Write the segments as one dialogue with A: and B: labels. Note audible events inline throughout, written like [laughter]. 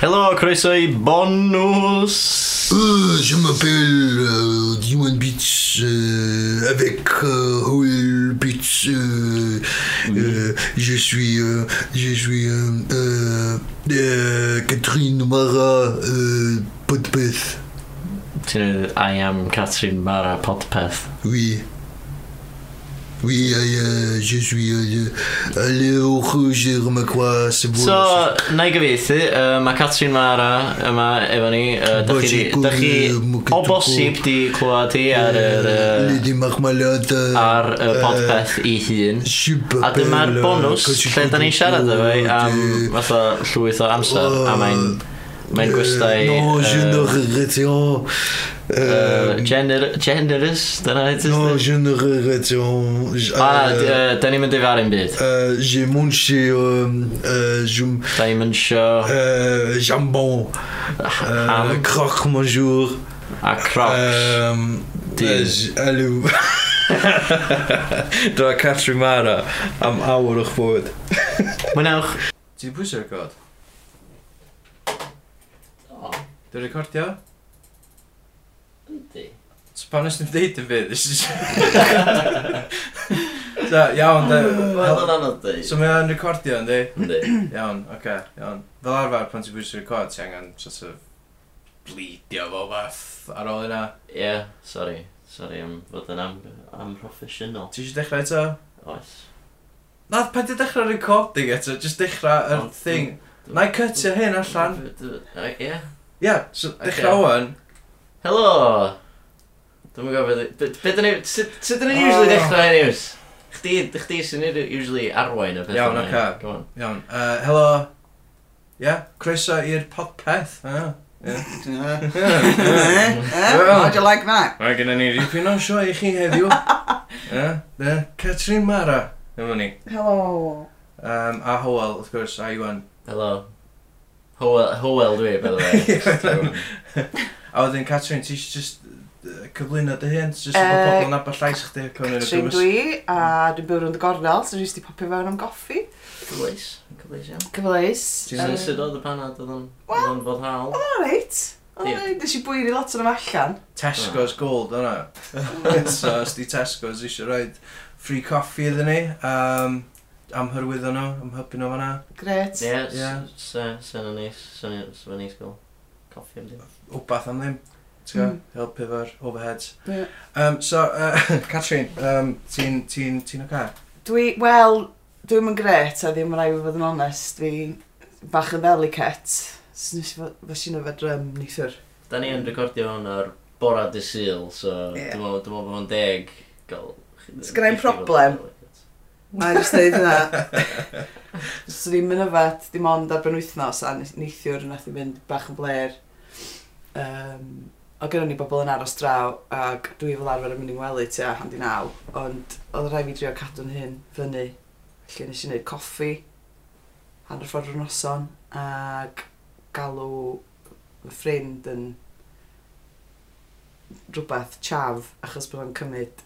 A: Helo, croeso i bonws!
B: Euh, je m'appelle euh, Dimon Beats euh, avec euh, Raoul Beats. euh, euh, je suis, euh, je suis euh, euh, euh, Catherine Mara euh, Podpeth.
A: Ti'n gwneud I am Catrin Mara Podpeth.
B: Oui. Oui, euh, je suis euh, allé au rouge et remarquois, c'est bon.
A: So, na i gyfeithi, uh, mae Catrin Mara yma efo ni. Uh, da chi, di- dach chi o bosib di clywed hi ar yr...
B: Les
A: Uh,
B: démarmalades.
A: ar y
B: euh,
A: podpeth i hun.
B: Super
A: A dyma'r
B: Bella,
A: bonws
B: Così
A: lle da ni siarad efo'i am
B: Cotto,
A: fatha llwyth o amser a mae'n mae'n
B: eh,
A: gwestau
B: No, je ne
A: uh,
B: regrette rien.
A: uh,
B: Euh,
A: gener- generous dyna it is
B: Non,
A: the-
B: je ne regrette rien. J-
A: A na,
B: euh,
A: Ah, d- yy, da ni'n mynd i fawr un byd
B: euh, J'ai mangé euh, euh, je m-
A: da ni'n mynd sio
B: euh, jambon, euh,
A: ham
B: croque bonjour.
A: a crocs
B: Euh,
A: Dim.
B: euh, j- Allô. Dwi'n Catrin Mara am awr o'ch bod.
A: Mwynewch
C: Ti di pwysio record? Dwi'n recordio?
A: Yndi.
C: So pan ysdyn ddeud yn fydd? [laughs] So iawn, de.
A: anodd
C: So mae o'n recordio yn di?
A: dweud
C: Iawn, oce, okay, iawn. Fel arfer, pan ti'n pwysio record, ti angen sort of bleedio fo fath ar ôl yna.
A: Ie, sori Sori am fod yn am- amproffesiynol
C: Ti eisiau dechrau eto?
A: Oes
C: Na, pan ti'n dechrau recording eto, just dechrau yr
A: Ond-
C: thing. Na i cutio hyn allan.
A: Yy, Ie
C: Ie, yeah, so
A: Ocê.
C: dechrau o'n.
A: Helo! Dwi'n mynd gofio, be- be dyn ni, sut sut dyn ni'n usually
C: O.
A: dechrau hynny news? Chdi, chdi sy'n ni'n usually arwain y pethau.
C: Iawn,
A: yma.
C: ocê.
A: Come on.
C: Iawn, uh, helo. Ie, yeah, croeso i'r podpeth. Ie.
D: [laughs] Eh?
C: Mae
D: Eh? How'd you like that?
C: gyda ni ripin o'n sio i chi heddiw.
D: [laughs]
C: Ie, Ie, Catrin Mara, efo ni.
D: Hello.
C: Um, a Howell, wrth gwrs, a Iwan.
A: Helo. Howell, Howell dwi, by the
C: [laughs]
A: way.
C: A wedyn Catrin, ti eisiau just yy, cyflwyno dy hyn? Just bod
E: Yy,
C: pobl yn abod llais chdi a cyflwyno
E: Catrin dwi, a dwi'n byw rhwng y gornel, so dwi'n just i popio fewn am goffi.
A: Cyfleus, cyfleus iawn.
E: Cyfleis.
C: Ti'n
A: Sut
C: Yy.
A: sut oedd y panad oedd yn
E: Wel.
A: oedd yn fod hawl?
E: Oedd o'n reit. Oedd
A: Ie.
E: o'n reit. Nes i bwyni lot o'n am allan.
C: Tesco's gold, o'na.
E: Mm.
C: [laughs] so, os di Tesco's eisiau roed free coffee iddyn ni. Um, am hyrwyddo nhw, am hybu nhw fanna.
E: Gret.
A: Ie,
C: Ie.
A: sy'n yn neis, sy'n yn neis gael coffi am ddim.
C: wbath am ddim. Ti'n gwbod,
E: Mm.
C: helpu efo'r overheads.
E: Ie.
C: Um, so, uh, [laughs] Catrin, um, ti'n ti, ti o'r
E: Dwi, wel, dwi'n yn gret, a ddim yn rhaid i fi fod yn onest. Dwi bach yn ddelicate. So nes i fod, fes i'n yfed rym neithwr.
A: Da ni yn recordio hwn ar bora dy syl, so
E: Ie.
A: dwi'n meddwl dwi'n meddwl bod hwn deg gael...
E: Sgennai'm problem. A jyst
A: [laughs]
E: dweud yna. so ddim yn yfed, dim ond ar ben wythnos, a nes- neithiwr nath i fynd bach yn bler. Um, o gynnu ni bobl yn aros draw, ac dwi fel arfer yn mynd i'n wely tua handi naw, ond oedd rhaid fi drio cadw'n hyn fyny. Felly nes i wneud coffi, hanner ffordd o'r noson, ac galw fy ffrind yn rhywbeth chaf, achos bod o'n cymryd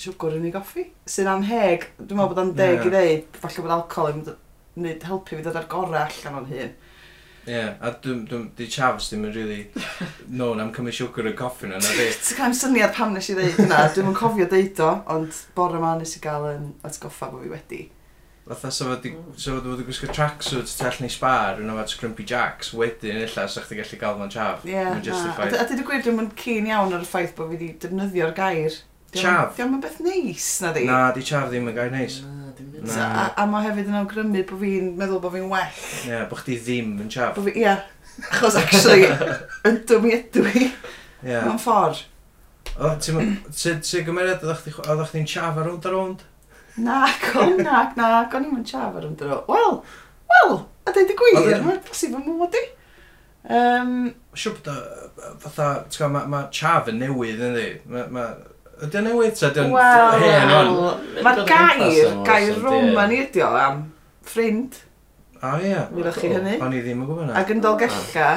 E: siwgr yn ei goffi. Sy'n anheg, dwi'n meddwl bod o'n deg
C: Ie.
E: i ddeud, falle bod alcohol yn mynd helpu fi dod ar gorau allan o'n hyn.
C: Ie, yeah, a dwi'n dwi, dwi chafs ddim yn really known am cymryd siwgr yn coffi na, na di.
E: Ti'n cael syniad pam nes i ddeud hynna, dwi'n yn cofio deud o, ond bore ma nes i gael yn atgoffa bod fi wedi.
C: Fatha sefod wedi gwisgo tracksuit tu allan i spar yn ofad Scrimpy Jacks, wedyn illa sa'ch ti gallu gael fo'n chaf.
E: Ie,
C: Mae'n justified.
E: a dwi'n gwir dwi'n cyn iawn ar y ffaith bod fi wedi defnyddio'r gair. Dio'm-
C: Chaf.
E: Dio'm yn beth neis, na di?
C: Na, di chaf ddim yn gair neis.
A: Na, dim byd.
C: Na.
E: So, A, a mae hefyd yn awgrymu bod fi'n meddwl bod fi'n well.
C: Ie, yeah, bod chdi ddim yn chaf.
E: Bod fi, ie, achos actually, yn dwmi ydw i,
C: Ie. Yeah.
E: mewn ffordd.
C: Ti'n gymeriad oeddech chdi- oeddech chdi'n chaf ar rownd ar rownd?
E: Na, go, na, na, go ni'n mynd siaf ar ymdro. Wel, wel, a dweud y gwir,
C: Oedd-
E: mae'n bosib yn mwyd i. Um,
C: Siw bod o- fatha, ti'n gwybod, mae ma chaf yn newydd yn ddi. Ma, ma, ydy o'n newydd, ta ydy o'n
E: Wel,
C: hen o'n?
E: wel, Mae'r gair, gair Roman i ydi o am ffrind,
C: O ie,
E: wyddoch chi hynny.
C: o'n i ddim yn gwybod hynna.
E: Ac yn dolgella,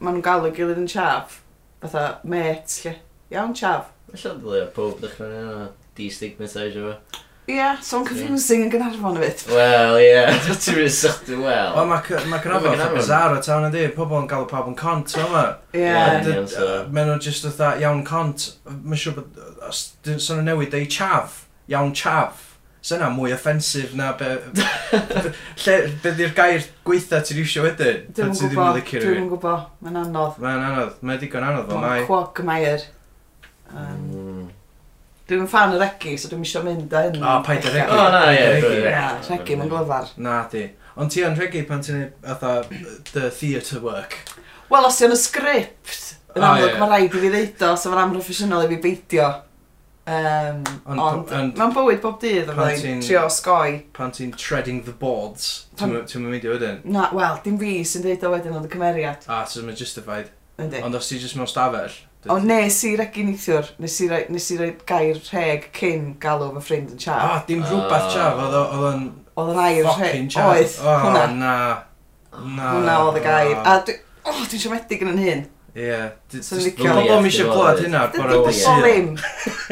E: maen nhw'n galw gilydd yn chaf. Fatha, met, lle. Iawn, chaf.
A: Alla dylai o pob ddechrau ni yna destigmatise efo.
E: Ie, so yn confusing yn Gynarfon y bit.
A: Wel, ie. [laughs] Ti'n rhywun sychdi, wel.
C: Wel, mae Cy- mae Gynarfon
A: Mae
C: yn
A: Gaernarfon.
C: bizarro town ydi, pobl yn galw pawb yn cont, o'n yma.
A: Ie.
E: Ie.
A: union, so-
C: Mae nhw jyst oedd iawn cont, mae'n siŵr bod, os dyn nhw'n newid ei chaf, iawn chaf, sy'n yna mwy offensif na
E: [laughs]
C: be... Lle, be di'r gair gweitha ti'n iwsio wedyn?
E: Dwi'm yn
C: Ti ddim yn
E: gwybod,
C: licio
E: dwi'm
C: rhywun.
E: yn gwybod, mae'n anodd.
C: Mae'n anodd, mae'n digon anodd fel
E: Mae'n
C: mai.
E: cwog mair. Um,
A: Mm.
E: Dwi'n fan y regi, so dwi'n eisiau mynd â hyn.
C: O, paid â regi.
A: O, na, ie.
C: Regi.
A: brilliant.
E: Ie, regi, mae'n glyfar.
C: Na, di. Ond ti yn regu pan ti'n atho the theatre work.
E: Wel, os yw'n y sgript, yn
C: O, Ah,
E: amlwg
C: ie.
E: mae rhaid i fi ddeud o, so mae'n amlwg proffesiynol i fi beidio. Um,
C: Ond-
E: ond,
C: ond-
E: mae'n bywyd bob dydd
C: Pan
E: o'n i'n
C: ti'n-
E: trio sgoi.
C: Pan ti'n treading the boards, ti'n
E: Pan-
C: mynd i wedyn.
E: Na, wel, dim fi sy'n deud o wedyn ond y cymeriad,
C: A, ti'n mynd justified.
E: yndi.
C: Ond os ti jyst mewn stafell...
E: O, nes i regi neithiwr, nes i roi- nes i roi gair rheg cyn galw fy ffrind yn
C: A,
E: siarad.
C: dim rhywbeth siaf, oedd o- oedd o'n
E: Oedd yn air
C: Ah, fucking
E: rheg,
C: siaf.
E: oedd, hwnna,
C: O, na. Na.
E: hwnna oedd y gair. A dwi, o, dwi'n siomedig yn yn hyn.
C: Ie.
E: Swn
C: Dwi'n
E: i'n licio-
C: Pobl mi eisiau
A: Ie,
C: glwad
A: dim
C: hynna,
E: Dydw
C: bod o'n
E: i o
C: sy'n...
E: ddim.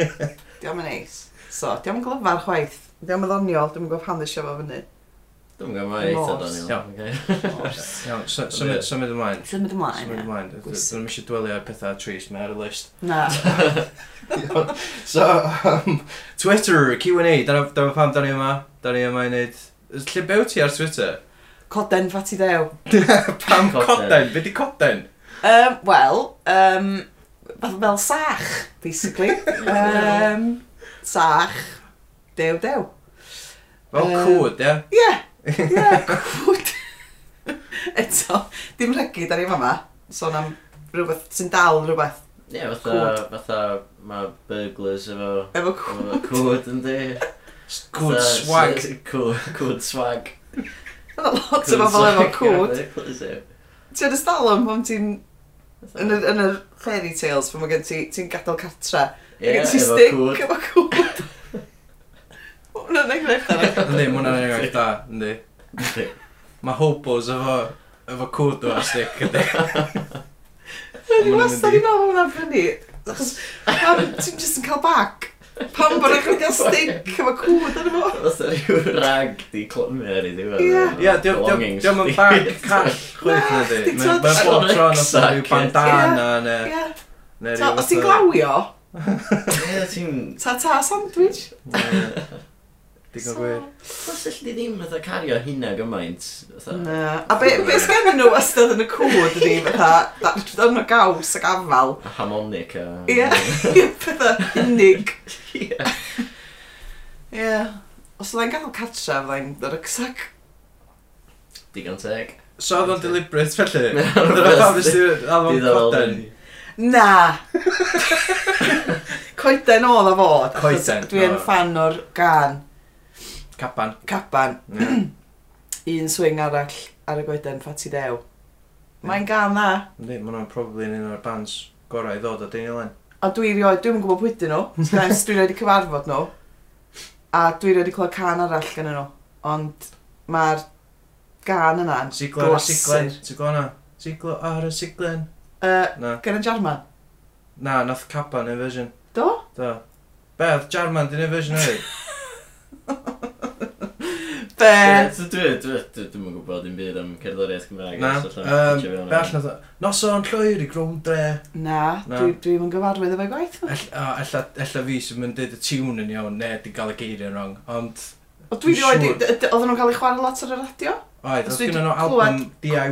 C: [laughs]
E: Diolch yn neis. So, diolch yn glyfar chwaith. Diolch yn ddoniol, dwi'n gwybod pan ddysio fo fyny.
A: Dwi'n gwybod mae'n eitha
E: Nos.
A: Daniel.
C: Iawn, sy- symud symud ymlaen. Symud
E: Symud ymlaen. ie.
C: ymlaen. Dwi'n
E: Bwysig.
C: ddim eisiau dwelio ar pethau trist, mae ar y list.
E: Na.
C: [laughs] So, um, Twitter, Q&A, dyna dyna pam da ni yma. Da ni yma i wneud... Lle bew ti ar Twitter?
E: Coden fat i dew.
C: [laughs] Pam
A: Coden.
C: coden? Be di coden?
E: Um, Wel, um, fath fel sach, basically. Um, sach, dew, dew.
C: Fel
E: Yym.
C: cwd, ie?
E: Ie, ie, cwd. [laughs] Eto, dim regu, da ni fama. Sôn am rhywbeth sy'n dal rhywbeth
A: [laughs] Ie, fatha, fatha, mae burglars efo...
E: efo
A: efo
E: cwd.
A: Cwd yn di.
C: Cwd
A: Fatha,
C: swag.
A: s- cw- Cwd swag.
E: Oedd lot o bobl efo cwd. Ti'n ystal am pan ti'n Yn y, yn y fairy tales, pan mae gen ti, ti'n gadael catra. Ie, gen ti stick efo cwd. Ma' Hwnna'n enghraifft [laughs] arall.
C: Yndi, mae hwnna'n enghraifft da, yndi. Mae hobos efo, efo cwd o astic, [laughs] yndi.
E: Rydw i
C: hwnna'n
E: wastad
C: mynd
E: i meddwl hwnna'n ffynnu. Achos pam ti'n just yn cael bac. Pam bod e'n cael stick efo cwd arno fo.
A: Fatha rhyw rag di clymu ar i ddiwedd.
E: Ie.
C: Ie, diolch yn
A: [laughs]
C: bag call chwech na di.
E: Ti'n
C: Mae'n
E: t'od-
C: bob tron os yna rhyw
A: Ie.
C: bandana neu...
E: Ie.
C: neu
E: So,
C: ryw
E: Os ti'n
C: fatha-
E: glawio,
A: Ie, ti'n...
E: ta ta sandwich.
C: Ie. Digon
E: So-
C: gwir.
A: Plus all di ddim fatha cario hynna gymaint. fatha.
E: Na. A be, be sgennyn nhw wastad yn y cwd ydi, fatha, dat- darn o gaws ac afal. [laughs]
A: A harmonica.
E: Ie, ie, pethau unig. Ie. Os oedd e'n gael catra, fyddai'n yr ysag.
A: Digon
E: [laughs]
A: teg.
C: So oedd o'n deliberate [laughs] felly?
A: Mae o'n
C: Dyna pam nes
A: rhywbeth
C: ti alw'n
A: diddorol,
C: coden?
A: dydi.
E: Na! Coeden oedd o fod. achos
C: Coeden,
E: Dwi'n
C: o.
E: fan o'r gan,
C: Capan.
E: caban,
C: Ie.
E: un swing arall ar y goeden ffati dew. Mae'n gan dda.
C: Yndi, mae nhw'n probably yn un o'r bands gorau i ddod o Daniel Len.
E: A dwi rioed, dwi'n gwybod pwy dyn nhw. Nes dwi'n rhaid i cyfarfod nhw. A dwi rioed i clywed can arall gan nhw. Ond mae'r gan yna yn
C: Siglo ar y
E: glasur.
C: siglen. Siglo yna. Siglo ar y siglen.
E: Yy,
C: Na.
E: Gan y Jarman.
C: Na, nath Capan neu version.
E: Do?
C: Do. Be, oedd Jarman di neu version o'i?
E: Be?
A: Ie, Dwi ddim yn gwybod dim byd am cerddoriaeth Cymraeg.
C: Na.
A: so allan
C: Yym,
A: pitio fewn
C: Be
A: ar-
C: all nath o? Noson llwyr i grown dre.
E: Na,
C: Na.
E: dwi- dwi'm yn gyfarwydd efo'i gwaith. nhw.
C: Ell- o, Ella ella fi sy'n mynd dweud y tune yn iawn, neu di gael y geiriau'n wrong. Ond,
E: O, dwi
C: Dwi'n
E: rioed, i-
C: siŵr.
E: d- d- oedden nhw'n cael eu chwarae lot ar y radio?
C: oed,
E: Os
C: oedd
E: dwi
C: gynnu nhw
E: di
C: album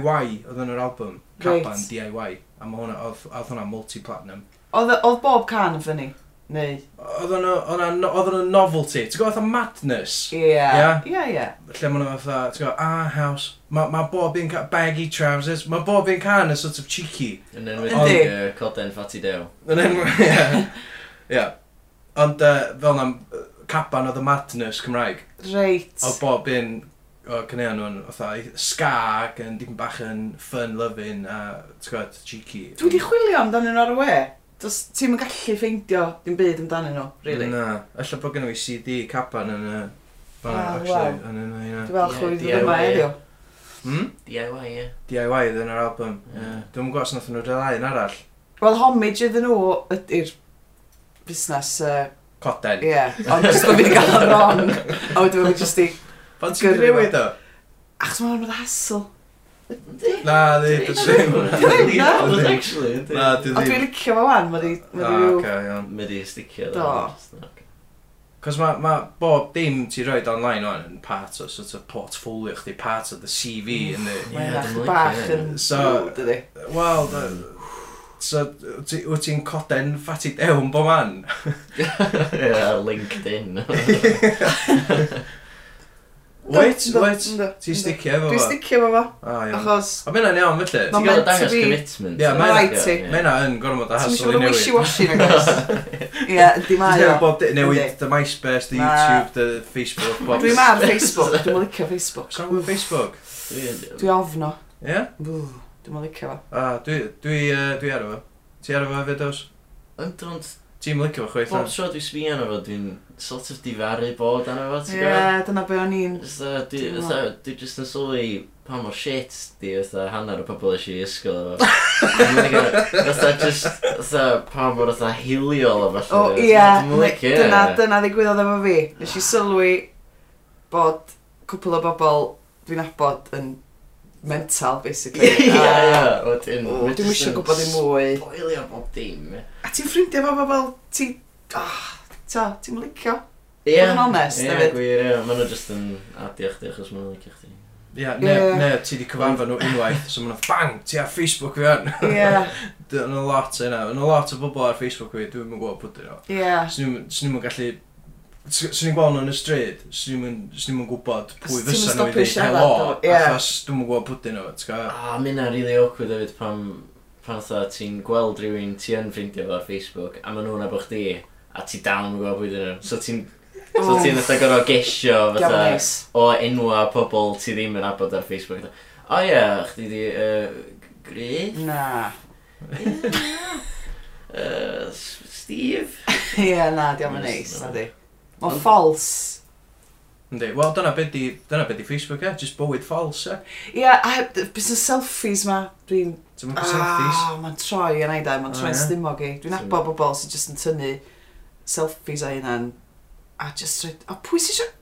C: DIY, oedd yn yr album.
E: Reit.
C: Capan DIY. A ma' hwnna, oedd oedd hwnna multi-platinum.
E: Oedd oedd bob can yn ffynnu? Neu?
C: Oedd hwnna, oedd hwnna- oedd hwnna novelty. Ti'n gwybod oedd madness?
E: Ie.
C: Ie?
E: Ie, ie.
C: lle maen nhw fatha, ti'n gwybod, ah, house, mae ma bob un can, baggy trousers, mae bob un can yn sort of cheeky.
A: Yn enwyd
E: Yndi.
A: y coden ffati dew.
C: Yn [laughs] enw- Ie. Ie. Ond uh, fel na, capan oedd y madness Cymraeg,
E: Reit.
C: oedd bob un o cynnion nhw'n fatha ska ac yn dim bach yn fun-loving a, ti'n gwybod, cheeky.
E: Dwi wedi chwilio amdanyn nhw ar y we. Does ti'n yn gallu ffeindio dim byd amdanyn nhw, really.
C: Na, ella bod gen i CD capan yn y... Fan
E: Ah,
C: ah, actually, yn yna, yna.
E: Dwi'n falch
A: Ie,
E: o'i ddim yma
A: DIY.
E: heddiw.
C: Hmm?
A: DIY, ie.
C: DIY oedd yn yr album.
A: Ie.
C: Yeah. Dwi'n gwybod os nath nhw'n rhaid arall.
E: Wel, homage iddyn nhw ydy'r busnes yy,
C: Coden.
E: Ie, ond jyst bod fi wedi cael o'n wrong. A wedyn mae'n jyst i...
C: Pan ti'n
E: Gyrru
C: newid o?
E: Achos mae'n rhywbeth hassle.
C: Na, di, dy ddim.
E: Ddim, na.
A: actually, yndi.
C: Na, dy
E: Ond dwi'n
C: ddim.
E: licio fo wan, mae di...
C: Ah,
E: Mae di ryw...
C: oce, iawn.
A: Mae di sticio.
E: Do.
C: [laughs] Cos mae ma bob dim ti'n rhoi online o'n yn part o sort of portfolio chdi, part of the CV,
E: Mm.
C: yndi.
E: Mae'n
A: Ie,
E: ach
A: dwi'm yn
E: bach
A: licio
E: yn...
A: hyn.
C: Ah, So-
E: So... Dydy.
C: Wel, dy- so wyt ti- wyt ti'n coden ffati dewn bo man?
A: Ie, LinkedIn.
C: Wait,
E: Do, do,
C: wait,
E: do,
C: ti'n
E: do.
C: sticio efo
E: Dwi'n
C: fo?
E: sticio fo fo,
C: O, iawn.
E: achos...
C: A mynd yn iawn, felly?
E: Ma'
A: Ti'n gael
E: meant to
A: dangos
E: be-
A: commitment.
C: Ie, mae'n-
E: Right,
A: Ie.
C: Mae yna yn gormod o
E: Ti'n
C: hassle i
E: siŵr yn
C: newid.
E: wishy-washy na [laughs] gos. Ie, di
C: Ti'n
E: mae
C: teimlo
E: o.
C: bob di- newid
E: Yndi.
C: dy MySpace, dy
E: Na.
C: YouTube, dy Facebook, bob...
E: Dwi'n ar Facebook, dwi'n licio Facebook.
C: Sa'n gwybod Facebook?
E: Dwi ofno.
C: Ie?
E: Dwi'n licio fo.
C: A, dwi, dwi, uh, dwi ar efo. Ti ar efo hefyd os?
A: Ond ond,
C: Ti'n licio fo chweith
A: bob
C: na?
A: tro dwi'n sbio arno fo, dwi'n sort of difaru bod arno fo, ti'n
E: Ie,
A: gwybod?
E: dyna be o'n i'n...
A: Fytha, dwi
E: Dwi'n
A: fatha, dwi jyst yn sylwi pa mor shit di fatha hanner o pobol eisiau i ysgol
E: [laughs]
A: efo. Dwi'n mynd i gael- Fatha just, fatha pa mor fatha hiliol o falle.
E: O, ie.
A: Dwi'n licio. e.
E: Dyna, dyna ddigwyddodd efo fi. Nes i sylwi bod cwpl o bobl dwi'n abod yn mental, basically.
A: Ie, [laughs] ie.
E: A-
A: Wedyn,
E: O,
A: ma'
E: Dwi'm
A: jyst
E: eisiau
A: yn
E: gwybod i mwy.
A: Spoilio bob dim. Ie.
E: A ti'n ffrindiau fo bobl, ti... Ah, ta, ti'n
A: [laughs]
E: licio? Fod yn honest,
A: Ie,
E: hefyd.
A: gwir, ie. Maen nhw jyst yn adio chdi achos maen nhw'n licio chdi.
C: Ie, ne,
E: Ie.
C: ne, ti di cyfanfa nhw unwaith, so ma'n bang, ti ar [laughs] Facebook fi an.
E: Ie,
C: Dy- Yn a lot yna, yn a lot o bobl ar Facebook fi, dwi'n mynd gwybod pwyd nhw.
E: ie.
C: Swn i'n gallu... s- Swn i'n gweld nhw yn y stryd, swn i'n gwybod pwy
E: Os ti'm
C: fysa nhw i
E: yn stopio
C: ddeud
E: siarad,
C: helo,
E: do, ie.
C: achos dwi'n mynd gwybod pwyd nhw, ti'n gwybod?
A: A mynd na really awkward hefyd pam pan fatha ti'n gweld rhywun ti yn ffrindio fo ar Facebook a maen nhw'n abo chdi a ti dal yn gwybod pwy dyn nhw. So ti'n so
E: O,
A: ti'n fatha gorau gesio
E: Iawn,
A: fatha
E: neis.
A: o enwa pobl ti ddim yn abod ar Facebook. Fatha, O ie, chdi di uh, Griff,
E: Na.
A: uh, Steve.
E: Ie, na, diolch yn neis, na di. Mae'n ffols.
C: Yndi, wel dyna beth di, dyna beth di Facebook e, just bywyd ffals e.
E: Ie, a heb- bys y selfies ma, dwi'n...
C: Ti'n mynd selfies.
E: Ah, mae'n troi yn aida, mae'n
C: O,
E: troi'n
C: ie.
E: stymog i. Dwi'n
A: Ti'n-
E: abod bobl sy'n just yn tynnu selfies a hynna'n... A just roed... O, pwy sy'n siarad?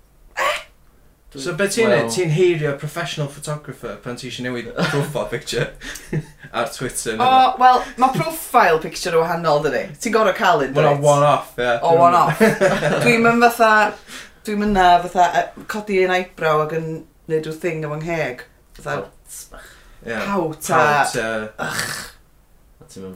C: So beth ti'n neud? Ti'n heirio professional photographer pan ti eisiau
E: [laughs]
C: newid profile picture [laughs] ar Twitter.
E: O, wel, mae profile picture yn wahanol, dydy. Ti'n gorau cael un,
C: Mae'n one-off, ie.
E: O, one off. Dwi'n mynd fatha... Dwi'n mynd na fatha yy, codi un eyebrow ac yn neud rhyw thing efo'n ngheg. Fatha
C: Ie.
E: pawt a...
C: Pawt, ie.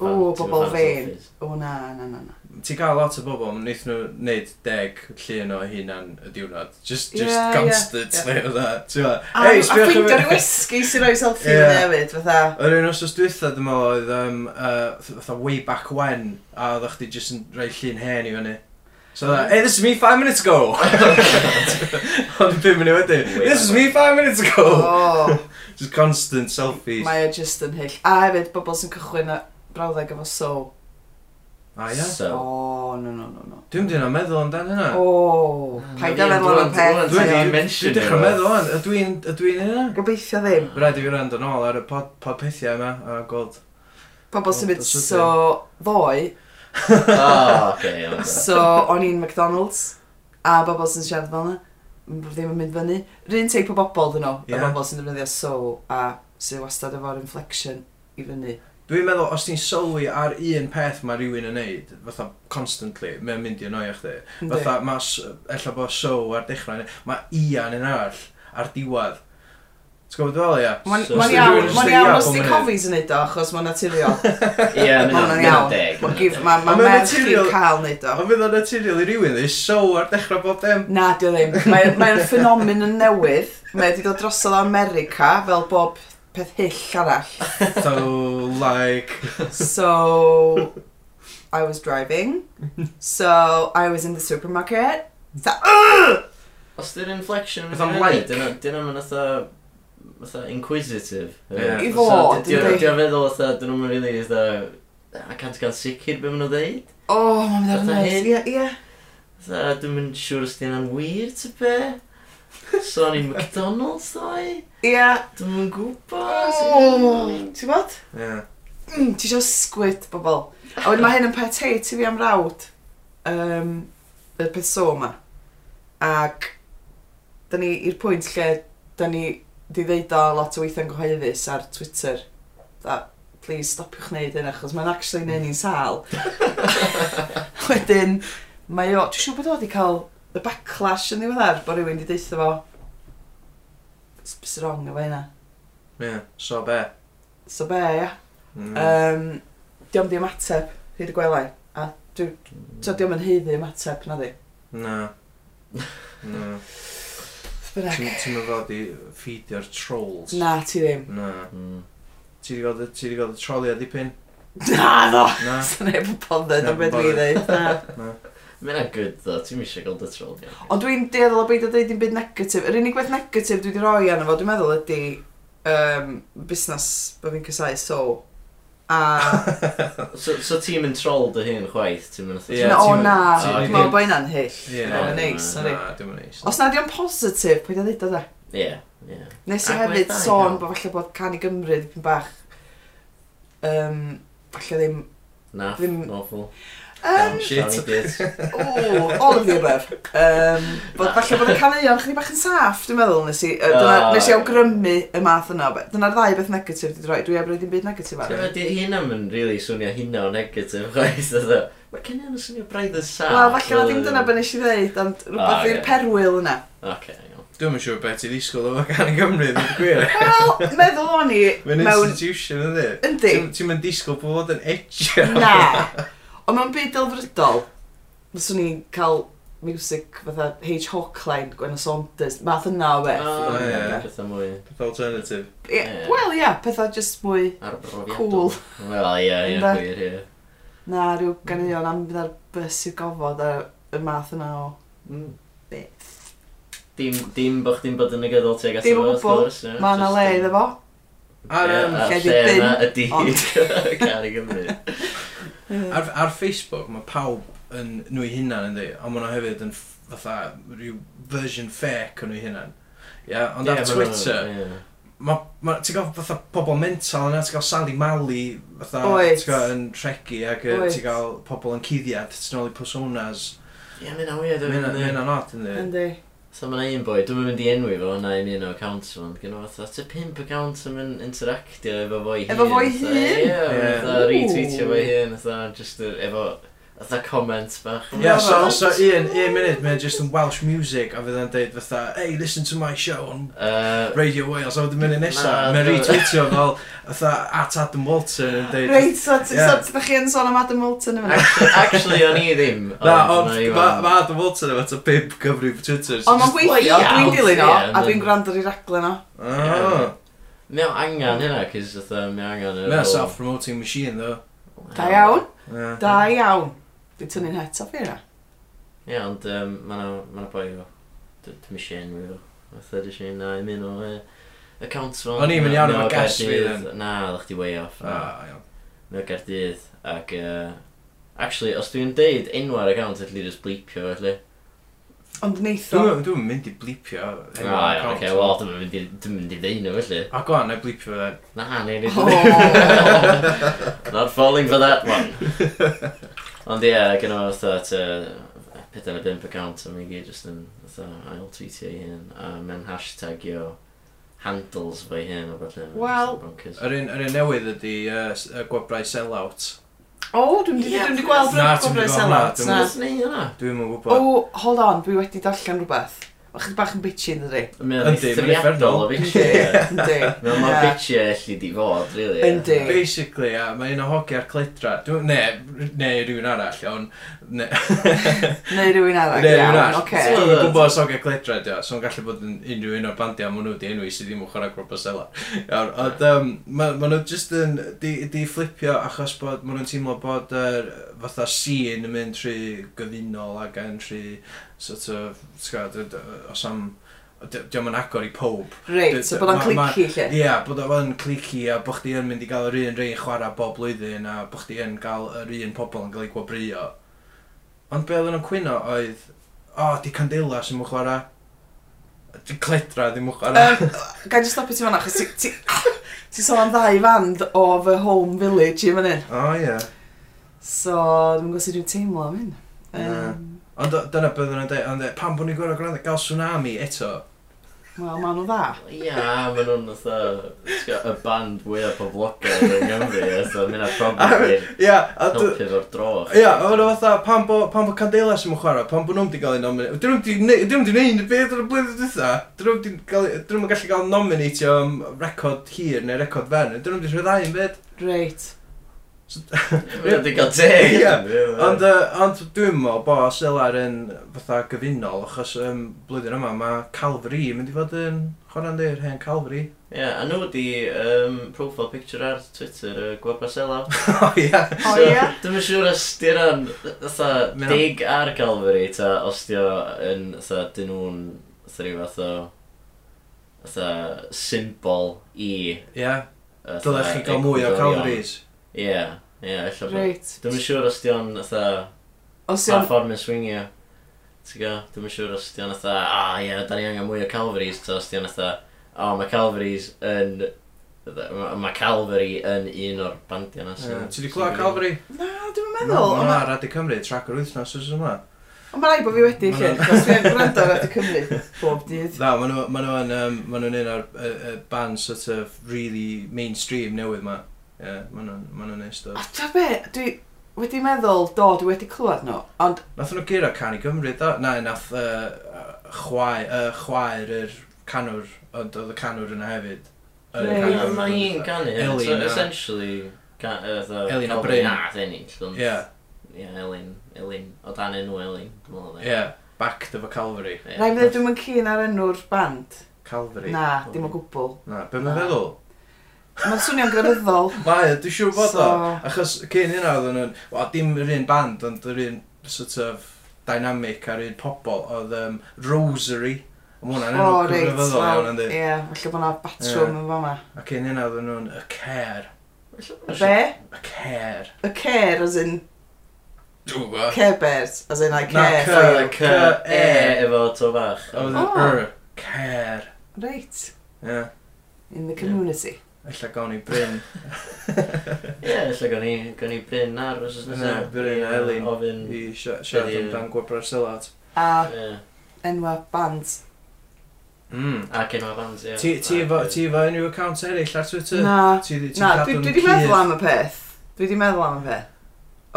E: O, bobl fe'n. O, na, na, na, na.
C: Ti'n cael lot o bobl, wnaeth nhw wneud deg llun o hunan y diwrnod. Just,
E: Ie,
C: just
E: ie,
C: constantly o dda. Ti'n ma?
E: A, hey, a ffeindio rhyw esgu sy'n rhoi selfie
C: Ie.
E: yeah. hefyd, fatha.
C: Yr un os oes dwytha, dwi'n meddwl, oedd um, uh, fatha way back when, a oedd chdi just yn rhoi llun hen i fyny. So that, hey, this is me five minutes
A: [laughs]
C: ago! Ond pum munud wedyn,
A: Way
C: this is
A: back Oh.
C: me five minutes
E: O,
C: ago! Just constant selfies.
E: mae o just yn hyll. A hefyd, bobl sy'n cychwyn y brawddeg efo so.
C: A ia?
E: O,
A: So,
E: no, no, no, no.
C: Dwi'n dyn o'n meddwl amdan hynna.
E: O,
C: Ah,
E: paid a meddwl am y peth.
A: Dwi
C: Dwi'n
A: di
E: ie.
C: dwi'n
A: mention
C: dechrau meddwl o'n, ydw i'n ydw i'n hynna?
E: Gobeithio ddim.
C: Rhaid i fi rand yn ôl ar y pod, pod pethau yma a gweld. O,
E: Pobl sy'n mynd
C: Oh, that's okay.
E: so ddoe,
C: [laughs]
A: [laughs] Oh, okay,
E: [laughs]
A: iawn, da.
E: So, o'n i'n McDonald's, a bobl sy'n siarad fel yna, m- ddim yn mynd fyny. Rhyn teip o bobl dyn nhw,
C: Ie.
E: y bobl sy'n defnyddio so, a sy'n wastad efo'r inflection i fyny.
C: Dwi'n meddwl, os ti'n sylwi ar un peth mae rhywun yn neud, fatha constantly, mae'n mynd i annoio chdi.
E: Yndi.
C: Fatha, mae, ella bod so ar dechrau, neu mae Ian yn arall ar diwad. Ti'n gwybod fel ia?
E: Ma'n
A: So,
E: ma'n
A: so
E: iawn,
A: dwi'n-
E: ma'n
C: dwi'n
E: iawn
C: iawn
E: os
C: bob
E: di
C: munud.
E: cofis yn neud o, achos
C: [laughs]
E: ma'n naturiol.
A: Ie,
E: Ma'n
A: mae'n
E: iawn.
A: deg.
E: Ma'n gif, ma'n
C: Ond
E: ma
C: ma'n
E: merch i'n
C: naturiol-
E: cael neud o.
C: Ond fydd o'n naturiol i rywun, dwi so ar dechrau bob
E: [laughs]
C: dim.
E: Na, di o ddim. Mae'n mae o'n ffenomen yn newydd. Mae wedi dod drosodd o America fel bob peth hyll arall.
C: So, like...
E: So I was driving. So I was in the supermarket. So,
A: Os di'r inflection yn
C: Fatha
A: fynd
C: like.
A: fyny, dyna ma'n atha... Fatha inquisitive.
C: Ie.
E: I fod, yndi.
A: Dwi'n feddwl atha, dyn nhw'n rili atha... A can't gael sicr beth maen nhw'n dweud.
E: oh, mam dad
A: Fatha
E: nice.
A: hyn?
E: Ie, ie.
A: Atha, dwi'n mynd siŵr os di'n anwyr, ta be? So o'n i'n McDonald's ddoe?
E: Ie.
A: Dwi'n mynd gwybod.
E: Ti'n bod?
C: Yeah.
E: Mm, Ti eisiau sgwyd, bobl. A wedyn mae hyn yn pet hate i fi am rawd. Um, y peso yma. Ac, da ni i'r pwynt lle da ni di ddeud o lot o weithiau'n gyhoeddus ar Twitter. Da, please stopiwch wneud hyn achos mae'n actually neud ni'n sal. Wedyn, mae o, dwi'n siŵr bod o wedi cael y backlash yn ddiweddar bod rhywun wedi deitha fo "S- Bys wrong efo hynna.
C: Ie, so be?
E: So be, ia.
C: Mm.
E: Um, diom di ymateb hyd y gwelau. A dwi,
C: Mm.
E: so diom yn heiddi ymateb na di.
C: Na. Na.
E: Bynnag.
C: Ti'n ti'n meddwl di ffeidio'r trolls?
E: Na, ti ddim.
C: Na.
A: Mm.
C: Ti di gael y- ti di gael y trolio dipyn?
E: Na, [laughs] no!
C: Na.
E: Sa'n neb yn bothered
C: Neb
E: am
C: yn
E: beth dwi'n
C: bothered.
E: dweud. Na.
A: Mae'n good ddo, ti'n eisiau gael dy trol ni.
E: [laughs] Ond dwi'n deddol o beidio dweud dim byd negatif. Yr unig beth negatif dwi wedi roi arno fo, dwi'n meddwl ydy um, busnes bod fi'n casau so.
C: [laughs]
E: A...
A: So, so ti'n mynd trol dy hun chwaith, ti'n mynd
C: Ie,
E: na, o
C: ti'n-
E: na,
C: ti'n-
E: dwi'n meddwl bod hynna'n hyll.
C: Ie.
E: Yeah, yeah, neis, sorry.
C: Na, dim yn neis.
E: Os na di'n positif, pwy da ddweud o da?
A: Ie, ie.
E: Nes i
A: Ac mae
E: hefyd
A: dau fel-
E: sôn bod falle bod can i Gymru dipyn bach. Um, falle ddim...
A: Na,
E: Ddim-
A: awful.
E: Um,
C: shit.
E: Ooh, all of the above. Um, bod, falle bod y caneuon chdi bach yn saff, dwi'n meddwl, nes i, uh, dyna,
A: Ah.
E: nes i awgrymu y math yna. o beth. Dyna'r ddau beth negatif wedi rhoi, dwi heb roi dim byd negatif ar.
C: [laughs]
A: Ydy hyn am yn rili swnio hynna o negatif chwaith [laughs] ydw. Mae gen i yn swnio braidd yn sa.
E: Wel, falle na dim dyna be nes i ddeud, ond
A: Ah,
E: rhywbeth i'r
A: ie.
E: perwyl yna.
A: Oce, iawn.
C: Dwi'n yn siŵr beth i ddisgwyl o gan y Gymru, dwi'n gwir.
E: Wel, meddwl o'n i
C: Mae'n
E: mewn...
C: institution ydi.
E: Yndi.
C: Ti'n- Ti'n mynd disgwyl bod yn edge. [laughs]
E: Na. Ond mewn byd delfrydol, fyswn i'n cael music fatha H. Hawkline, Gwenna Saunders, math yna o beth.
A: O,
C: ie.
A: ie, Pethau mwy
C: Peth alternative.
E: Ie,
A: Oh, ie.
E: Wel, ia, pethau just mwy
A: arbrofiadol.
E: cool.
A: Wel, ie, ie,
E: Ynde?
A: gwir, ie.
E: Na, rhyw ganeuon am fydd ar bus i'r gofod a y math yna o
A: Mm.
E: beth.
A: Dim, dim bo chdi'n bod yn negyddol tuag at
E: Dim o
A: efo, wrth
E: gwbwl.
A: gwrs, ie,
E: Mae yna
A: jyst,
E: le
A: yym,
E: iddo fo.
C: Ar,
A: ie,
C: yym,
A: a'r
E: lle di
A: lle
E: byn,
A: yna ydi
E: ond-
A: [laughs] Cari Gymru.
C: Ar, ar Facebook mae pawb yn nhw i hunan yndi, ond maen nhw hefyd yn f- fatha rhyw version fake o nhw i hunan. Ia, ond
A: Ie,
C: ar
A: ma' nhw-
C: Twitter,
A: ie.
C: ma- ma- ti'n gael fatha pobl mental yna, ti'n gael Sally Mali, fatha,
E: Oes.
C: ti'n gael yn regu ac yy,
E: Oes.
C: ti'n gael pobl yn cuddiad, ti'n ôl i personas.
A: Ie, mae'n awyr,
C: Mae hynna'n od yndi.
E: Yndi.
A: So mae'n un boi, dwi'n mynd i enwi fo na un un o accounts fo'n gyda fo, ta pimp account yn mynd interactio efo fo i hun.
E: Efo fo i
A: fatha,
E: hun?
A: Ie,
C: Ie.
A: fatha retweetio fo i hun, fatha just yy, efo, fatha comment bach.
C: Yeah, so,
E: Reit.
C: so un, un munud, mae'n just yn Welsh music, a fydda'n deud fatha, hey, listen to my show on
A: Uh,
C: Radio Wales, a fydda'n mynd i nesa,
A: Na,
C: mae'n
A: no.
C: retweetio fel, fatha, at Adam Walton, yn deud,
E: Reit, so t- so
C: Ie.
E: ydych chi yn sôn am Adam Moulton yma?
A: actually, actually, o'n i ddim.
C: [laughs] Na, ond
A: na i
C: mae
A: wan.
C: ma Adam Walton efo ta bib Cymru for Twitter. so
E: Ond mae'n
C: just-
A: Wel,
E: gweithio,
A: ie,
E: dwi'n dilyn o,
A: ie,
E: a dwi'n
A: yndi.
E: gwrando i'r raglen o.
C: Oh.
A: Mae o angen hynna, cys fatha, mae o angen... yr
C: Mae'n
A: whole-
C: self-promoting machine, ddo.
E: Da iawn,
C: Ie.
E: da iawn. Dwi'n tynnu'n het o fi yna.
A: Ie, ond yym, ma' na- ma' na boi o, d- dim eisiau enwi fo. Fatha, dim eisiau na, i mi nhw, yy, accounts fo.
C: O'n i'n mynd iawn
A: Mae o
C: efo guess fi
A: Gaerdydd.
C: then.
A: Na, oeddech chdi way off. na.
C: Ah, iawn.
A: Mae o Gardydd ac uh, Actually, os dwi'n deud enwa'r account, allai just bleepio felly.
E: Ond neitho.
C: Dwi'm dwi'n mynd i blipio.
A: O, Ah, iawn, oce, wel, dwi'n mynd i- dwi'm yn mynd i ddeun o felly.
C: A Ah, go on, na blipio fe.
A: Na, neu
E: O,
A: nid.
E: Oh.
A: [laughs] Not falling for that one. Ond ie, gyda fo fatha ta pedair neu bump account, a mi gyd just yn fatha ail tweetio i hyn, a mewn hashtagio handles fo i hyn o felly.
E: Wel,
C: Yr un yr un newydd ydi yy, s- yy, gwobrau sell-out.
E: O, dwi'n mynd i
A: Ie,
E: dwi'n mynd i gweld
C: Na,
E: rhywbeth
C: dwi'm di
E: cyfres
C: gweld hwnna, dwi'm
E: elot. Na.
A: Dwi'n mynd yna.
C: Dwi'm yn gwybod.
E: O, Oh, hold on, dwi wedi darllen rhywbeth. Mae chyd bach yn bitchy yn dydi?
A: Mae'n
C: Yndi, mae'n
A: eithriadol o bitchy.
E: [laughs]
A: ie.
E: Yndi.
A: Mae'n mor
E: Ie.
A: bitchy allu di fod, really. ie.
E: Yndi.
C: Basically, a, mae un o hogi ar cledra. Dwi'n... Ne, ne, rhywun arall, ond... Ne,
E: Neu rhywun arall.
C: ne, rhywun
E: iawn,
C: arall.
E: Oce.
C: Dwi'n gwybod os hogi ar cledra, dio. So, yn gallu bod yn unrhyw un o'r bandiau maen nhw wedi enwi sydd ddim yn chwarae grwp o sela. Iawn, ond um, maen nhw jyst yn... Di, di flipio achos bod... Maen nhw'n teimlo bod yr fatha scene yn mynd trwy gyfunol ac yn trwy... Sort of... Sgad, os am... Diolch yn agor i pob.
E: Reit, so bod o'n
C: Ma- ma-
E: clici lle.
C: Ie, yeah, bod o yn clici a bod chdi yn mynd i gael yr un rei chwarae bob blwyddyn a bod chdi yn gael yr un pobl yn cael ei gwobrio. Ond be oedden nhw'n cwyno oedd, o, oh, di Candela sy'n mwyn chwarae. Di Cledra ddim yn chwarae.
E: Yym, Gai just stopio ti fan'na, achos ti- ti... [laughs] Ti sôn am ddau fand o fy home village i fan hyn.
C: O, ie.
E: So, dwi'n gwybod sut dwi'n teimlo am hyn. Yym,
C: Ond o- dyna byddwn yn dweud, ond dweud, pam bod ni'n gwrdd gwrando gael tsunami eto?
E: Wel, maen nhw dda.
A: Ia, maen nhw'n fatha, ti'n gwbod, y band fwyaf poblogaidd yng Nghymru, so mae'n a problem i'r
C: Ia, a d-
A: helpu efo'r droch.
C: Ia, yeah, o'n fatha, pam bod pan bo Candela sy'n chwarae, pam bod nhw'n wedi cael ei nominatio. Dyn nhw'n wedi gwneud y beth ar y blwyddyn dwytha. Dyn nhw'n wedi gallu cael nominatio am record hir neu record fer. Dyn nhw'n wedi rhyddau yn byd.
E: Reit.
A: Mae'n wedi cael teg.
C: Ie,
A: Ie,
C: Ond, uh, ond dwi'n meddwl bo Selar yn fatha gyfunol, achos um, blwyddyn yma mae Calvary yn mynd i fod yn chwarae'n dyr hen Calvary. [laughs]
A: Ie, a nhw wedi um, profile picture ar Twitter, y Gwebra Selaw.
C: o ia.
E: O, ie?
A: Dwi'n yn siŵr os di'r an, fatha,
C: Mae o'n-
A: dig ar Calvary, ta, os di o yn, fatha, dyn nhw'n, fatha, rhyw fath o, fatha, symbol i...
C: Ia,
A: fatha,
C: dylech chi gael mwy o
A: egwyddorion.
C: Calvarys.
A: Ie, ie, ella bod.
E: [laughs] Reit.
A: Dwi'n yn siŵr os di o'n, fatha,
E: Os
A: pa
E: yw'n...
A: ffordd mae'n swingio. Ti'n gwybod? Dwi'n yn siŵr os di o'n fatha, a ie, da ni angen mwy o Calvarys, ta os di o'n fatha, o, mae Calvarys yn... Mae ma Calvary yn un o'r bandiau na
C: Ti
A: sy'n...
C: wedi clywed Calvary?
E: Na, dwi'n meddwl.
C: Mae'n
E: Ond ma-
C: rhaid i Cymru, trac yr wythnos oes yma.
E: ond mae'n rhaid bod fi wedi,
C: Ma'
E: lle.
C: nhw'n-
E: Os fi'n gwrando ar y Cymru bob dydd.
C: Na, maen nhw maen nhw yn um, maen nhw'n un o'r y- y band sort of really mainstream newydd ma. Ie, yeah, maen nhw'n maen nhw'n neis
E: A
C: dod.
E: ta be, dwi wedi meddwl, do, dwi wedi clywed nhw. Ond,
C: Nath nhw gyro can i Gymru, do? Na, nath uh, chwaer, uh, chwaer yr canwr, ond oedd y canwr yna hefyd. Yr
E: Reit.
A: Mae
C: canwr.
A: hi'n canu, ie.
C: Elin
A: So,
C: a-
A: essentially... ca- yy, fatha-
C: Elin a
A: Calvary
C: Bryn.
A: Nath ennill, ond...
C: Ie,
A: Ie, Elin, Elin. O dan enw Elin, dwi'n meddwl. oedd e.
C: ie. Back to the Calvary.
A: Ie.
E: rhaid mi ddweud dwi'n mynd cyn ar enw'r band.
C: Calvary.
E: Na, dim o gwbl.
C: Na, be mae'n
E: Na.
C: feddwl?
E: Mae'n swnio'n
C: [laughs]
E: grefyddol.
C: Mae, dwi'n siŵr bod o.
E: So-
C: Achos cyn hynna oedd nhw'n... Wel, dim yr un band, ond yr un sort of dynamic a'r un pobol. Oedd um, Rosary. Mae hwnna'n
E: O,
C: enw
E: reit.
C: cyfrifyddol
E: wel,
C: iawn, yndi.
E: Ie, falle bod na batrwm yn fama.
C: A cyn hynna oedd nhw'n y cer.
E: Y be?
C: Y cer.
E: Y care, as in
C: Dwi'n gwybod.
E: care bears, as in I care
C: cer.
E: for you.
A: Fatha C- E efo to fach.
C: Oedd
E: O.
C: yn yr cer.
E: Reit,
C: er, Ie.
E: in the community.
C: Ella gawn ni Bryn.
A: Ie, lle gawn ni, gawn ni Bryn ar os ysnes
C: Na, Bryn a Elin.
A: Ofyn...
C: I
A: Ie.
C: sia- siarad
A: Ydi, ie.
C: amdan gwebra'r silad.
E: A enwa bands.
C: Mm.
A: Ac enw bands, ie.
C: Ti ti efo ti efo unrhyw account eraill ar Twitter?
E: Na,
C: Ti ti
E: na,
C: cadw'n
E: dwi wedi meddwl
C: cudd?
E: am y peth. Dwi wedi meddwl am y peth.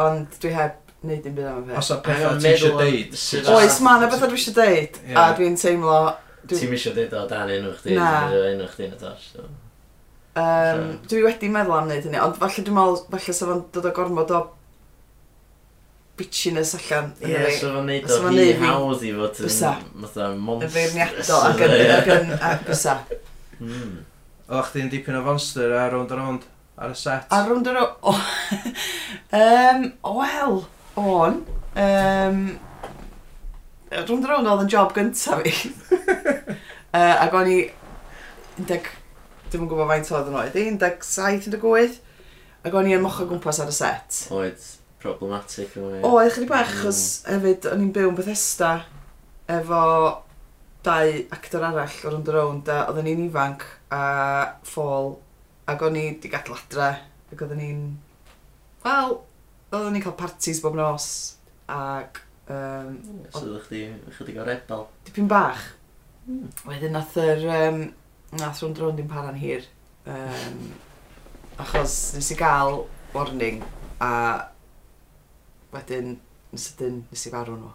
E: Ond dwi heb neud dim byd am y
C: Os
E: peth.
C: o pethau ti eisiau deud.
E: Oes, ma' na bethau dwi eisiau deud, a
C: Ie.
E: dwi'n teimlo... dwi-
A: Ti'n misio dweud o dan enw chdi,
E: Na.
A: ti'n misio enw chdi yn y dos. so.
E: Um, dwi wedi meddwl am wneud hynny, ond falle dwi'n meddwl, falle sef o'n dod o gormod o bitchiness allan.
A: Ie,
E: yn fi.
A: so fo'n neud
E: so
A: o
E: ma'n
A: hi
E: neud fi
A: hawdd i fod yn...
E: bysa.
A: Fysa.
E: Yn
A: monster.
E: feirniadol ac yn, ac yn, ac bysa.
A: Mm.
C: Oeddech chdi'n dipyn o fonster a round a round ar y set.
E: A rwnd yr o... o- [laughs] Yym, Wel, o'n. Um, rwnd yr o'n oedd yn job gyntaf fi. uh, ac o'n i... 11 Dwi'n yn gwybod faint oedd yn oed i, 17, 18. Ac o'n i yn mochio gwmpas ar y set.
A: Oed problematic yma.
E: O, oedd chydig bach, achos hefyd o'n i'n byw yn Bethesda efo dau actor arall o'r ond around a oedden ni'n ifanc a ffôl ac o'n i di gadw adre ac oedden ni'n... Wel, oedden ni'n cael parties bob nos ac um,
A: So ddech chi, chydig o rebel.
E: dipyn bach.
C: Hmm.
E: Wedyn nath yr... Um, nath rhwnd rhwnd i'n para'n hir. Um, achos nes i gael warning a wedyn nes ydyn nes i farw nhw.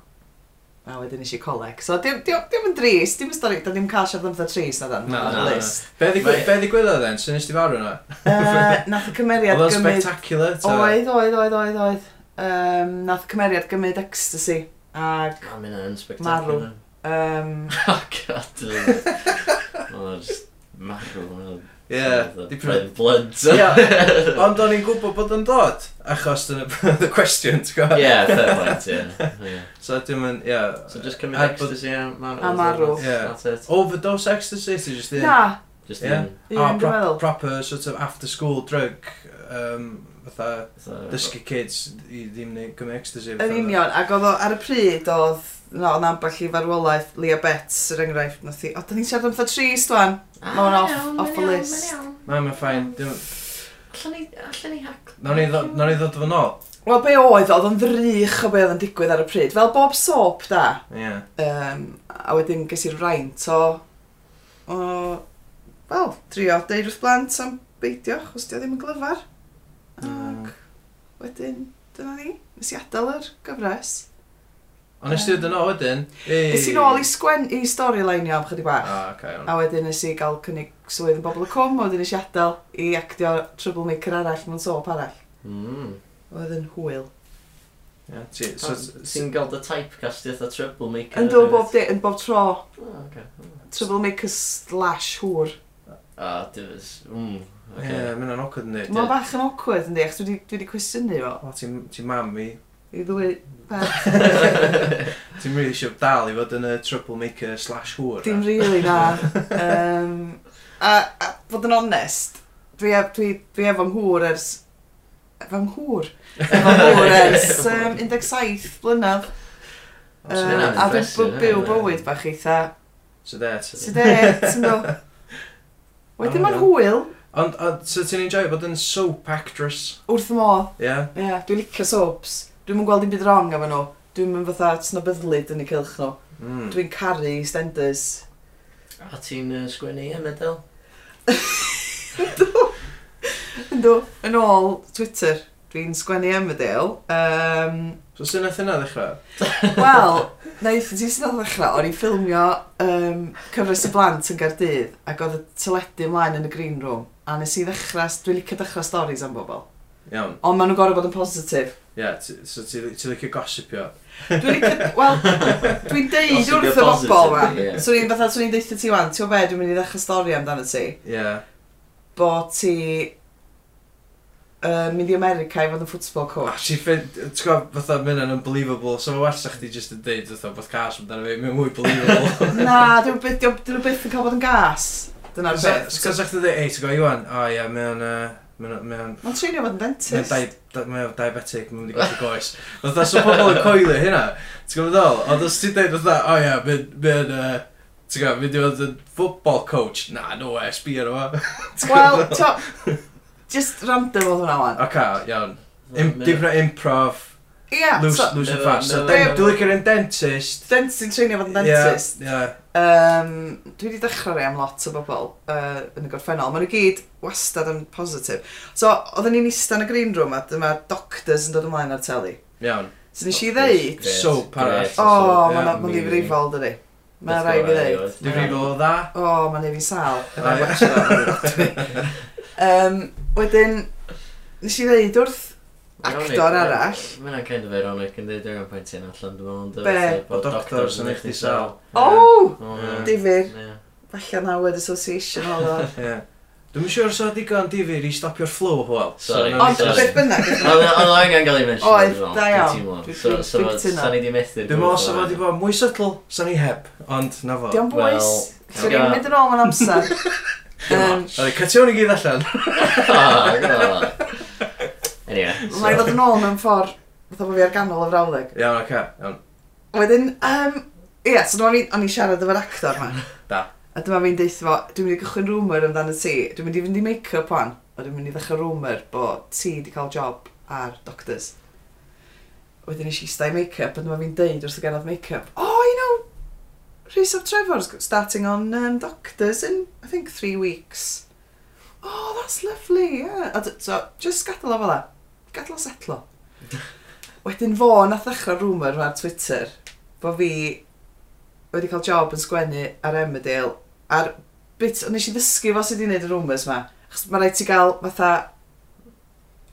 E: A wedyn nes i coleg. So diw, diw, diw yn dris, dim yn stori, da ni'n cael siarad am fatha tris na dan.
C: Na,
E: ar y
A: na, na.
C: [laughs]
E: list.
C: Be ddigwy-
A: Mae-
C: be ddigwyddodd then? Sy'n ysdi farw yna?
E: Yy, nath y cymeriad
C: Oedd o'n
E: gymryd...
C: spectacular? ta?
E: Oedd, oedd, oedd, oedd, oedd. Um, nath y cymeriad gymryd ecstasy ac
A: A mynd yn
E: Marw.
A: spectacular.
E: um,
A: [laughs] Oh, god. Oedd o'n just marw.
C: Ie, dipyn o...
A: Dipyn blood. [laughs]
C: Ie, [laughs] Ond o'n i'n gwybod bod o'n dod, achos dyna [laughs] oedd y cwestiwn, ti'n gwybod?
A: Yeah, fair point, yeah. yeah.
C: So dim yn, ie.
A: So just cymryd
C: A- but-
A: ecstasy a marw.
E: A marw.
A: That's-
C: Yeah.
A: That's it.
C: Overdose ecstasy, ti'n just un...
E: na,
A: Just
C: Yeah.
A: in,
E: un
C: a
E: dwi'n
C: pro-
E: meddwl.
C: proper sort of after school drug, um, fatha,
A: so-
C: dysgu kids i ddim neu gymryd ecstasy.
E: Yn
C: fatha.
E: union, ac oedd o ar y pryd oedd No, oedd ambell i farwolaeth, Lea Betts, yr enghraifft, nath Ah, i, o, da ni'n siarad am fatha tris, dwan. Ma' hwnna off- off the list.
C: Na, mae'n ffain. dim-
A: Allan ni, allan ni hac...
C: Nawn ni ddo- nawn ni ddod o fo nôl?
E: Wel, be oedd, oedd o'n ddrych o be oedd yn digwydd ar y pryd. Fel bob soap, da.
C: Ie.
E: Um, a wedyn ges i'r fraint o... o wel, drio deud wrth blant am beidio, os di o ddim yn glyfar. Ac
C: Mm.
E: wedyn, dyna ni. Nes i adael yr gyfres.
C: Ond nes ti ddod yn ôl wedyn? Ei.
E: Nes i nôl i sgwen i storyline am chydig bach.
C: Ah, okay, iawn.
E: A wedyn nes i gael cynnig swydd yn bobl y cwm, a wedyn nes i adael i actio troublemaker arall mewn soap arall.
A: Mm.
E: Oedd yn hwyl.
C: Ie, ti- so-
A: So, ti'n gael dy typecast eitha troublemaker.
E: Yn dod bob, di- yn bob tro,
A: O, oce.
E: troublemaker slash hwr.
A: O, dyfys. Mm,
C: Ie,
A: oce.
C: ma' hynna'n awkward, yndi?
E: Mae'n bach yn awkward yndi, achos dwi 'di- dwi wedi cwestiynu fo.
C: O, ti'n ti'n mam i. [laughs]
E: I ddwy peth.
C: Ti'n rili eisiau dal i fod yn y troublemaker slash hwr.
E: Dim rili
A: [laughs]
E: na. Um, a, a fod yn onest, dwi, ef- dwi, dwi efo mhŵr ers... Efo mhŵr?
A: [laughs]
E: Efo mhŵr ers um, 17 blynedd.
C: O, so
E: Yy,
A: hynna'n
E: a dwi'n
A: impressive,
E: by- byw
A: hynna.
E: bywyd bach eitha
C: So that.
E: Ti de, ti'n mynd. Wedyn ma'n hwyl
C: Ond, ond, so ti'n enjoy bod yn soap actress?
E: wrth y modd.
C: Ie? Yeah?
E: Ie, yeah, dwi'n licio soaps. Dwi'n mynd gweld dim byd wrong efo nhw. Dwi'n mynd fatha snobyddlyd yn y cilch nhw.
C: Mm.
E: Dwi'n caru stenders.
A: A ti'n uh, sgwennu e, medel?
E: Yndw, yn ôl Twitter, dwi'n sgwennu Emmerdale. Um,
C: So sy'n nath yna ddechrau?
E: Wel, naeth ti sy'n dod ddechrau, o'n i'n ffilmio um, cyfres y blant yn Gardydd ac oedd y teledu ymlaen yn y green room a nes i ddechrau, dwi'n licio dechrau storis am bobl.
C: Iawn.
E: Ond maen nhw'n gorau bod yn positif.
C: Ie, yeah, so ti'n ti licio gossipio?
E: Dwi'n licio, wel, dwi'n
A: Os
E: deud
A: ti'n
E: wrth y
A: gael
E: bobl ma.
A: positive, ie.
E: Swn i'n fatha, swn i'n deitha ti wan, ti'n gwbod be, dwi'n mynd i ddechrau stori amdano ti,
C: Ie. Yeah.
E: bod ti uh, mynd i America i fod yn football
C: Oh,
E: coach.
C: ti'n ffyn, ti'n gwybod, fatha mynd yn unbelievable, so mae werth sa'ch ti jyst yn deud, fatha, bod cas amdano fi, mae'n mwy
E: [laughs]
C: believable.
E: Na, dwi'n byth, dwi'n dwi byth yn cael bod yn gas. Dyna'r beth.
C: Sgwrs sa'ch ti dweud, ei, ti'n gwybod, Iwan, o ie, mae'n, mae'n, mae'n,
E: Mae'n trinio fod yn
C: Mae'n
E: dentist.
C: di- di- mae'n diabetic, mae'n mynd i gallu goes. Fatha, so pobl yn coelio hynna. Ti'n gwybod ddol? Ond os ti'n dweud fatha, o ia, mae'n... Ti'n gwybod, mynd i fod yn football coach. Na, no way, sbi ar yma.
E: Wel, to, just random oedd hwnna wan.
C: Oca, iawn. Im- Dipra improv,
E: Ia,
C: loose
E: so,
C: loose and
A: no,
C: fast. So,
A: no,
C: den-
E: no.
C: Dwi'n licio'r un dentist.
E: dentist yn trinio fod yn dentist.
C: Ie, ie.
E: Um, dwi wedi dechrau rei am lot o bobl uh, yn y gorffennol. Maen nhw gyd wastad yn positif. So, oedden ni'n eista yn y green room a dyma doctors yn dod ymlaen ar teli.
C: Iawn.
E: So, nes i ddeud, Oh,
A: Grêt,
C: soap arall.
A: grêt,
E: o,
A: soap,
C: ie,
E: mae'n mynd i
A: amazing.
E: frifol, dydy. Mae'n
A: Beth
E: rai fi
A: gorau
E: ddeud.
A: oedd.
C: Dwi'n rhywbeth o dda.
E: O, mae'n ei fi sal.
C: O, ie.
E: um, wedyn, nes i ddeud wrth
A: Ironic,
E: actor
A: ie.
E: arall.
A: Mae hwnna'n kind of ironic yn dweud angen pwynt i'n allan dwi'n meddwl.
E: Be?
C: O doctors yn eich di sal.
E: O,
C: Ie.
E: difyr.
A: Ie.
E: Falle na word association o ddo.
C: Ie. Dwi'n siŵr so digon difyr i stopio'r flow, hwyl.
A: Sorry.
E: Ond
A: Sorry.
E: beth bynnag.
A: Ond oedd angen gael ei mention.
E: Oedd,
A: dwi'n meddwl,
E: da
A: dwi'n
E: iawn.
A: teimlo.
E: Dwi-
A: So,
E: dwi'n-
A: so,
E: dwi'n cytuno.
A: sa'n i di methu.
C: Dwi'n meddwl sa fo wedi bod mwy sytl, sa'n i heb, ond na fo.
E: Diolch boys.
A: Wel,
E: Lly'n
A: ie.
E: mynd yn ôl mewn amser. Yym,
C: Rhaid, cytio'n i gyd
E: [laughs]
C: allan.
A: bod... Anyway.
E: Mae'n ddod yn ôl mewn ffordd Fytha bod fi ar ganol y frawddeg.
C: Iawn, oce, iawn.
E: Wedyn, um, ie, yeah, so dyma fi, o'n i siarad efo'r actor ma.
C: Da.
E: A dyma fi'n deitha fo, dwi'n mynd i gychwyn rumour amdano ti. Dwi'n mynd i fynd i make-up wan. A dwi'n mynd i ddechrau rumour bod ti wedi cael job ar doctors. Wedyn eisiau stai make-up, a dyma fi'n deud wrth y ganodd make-up. Oh, you know, Rhys of Trevor's starting on um, doctors in, I think, three weeks. Oh, that's lovely, yeah. A d- so, just gadael o fel e. Gadael o setlo. Wedyn fo, nath ddechrau rumour ar Twitter, bod fi wedi cael job yn sgwennu ar Emmerdale. Ar bit, ond nes i ddysgu fo sydd wedi gwneud y rumours ma. Chos mae rhaid ti gael fatha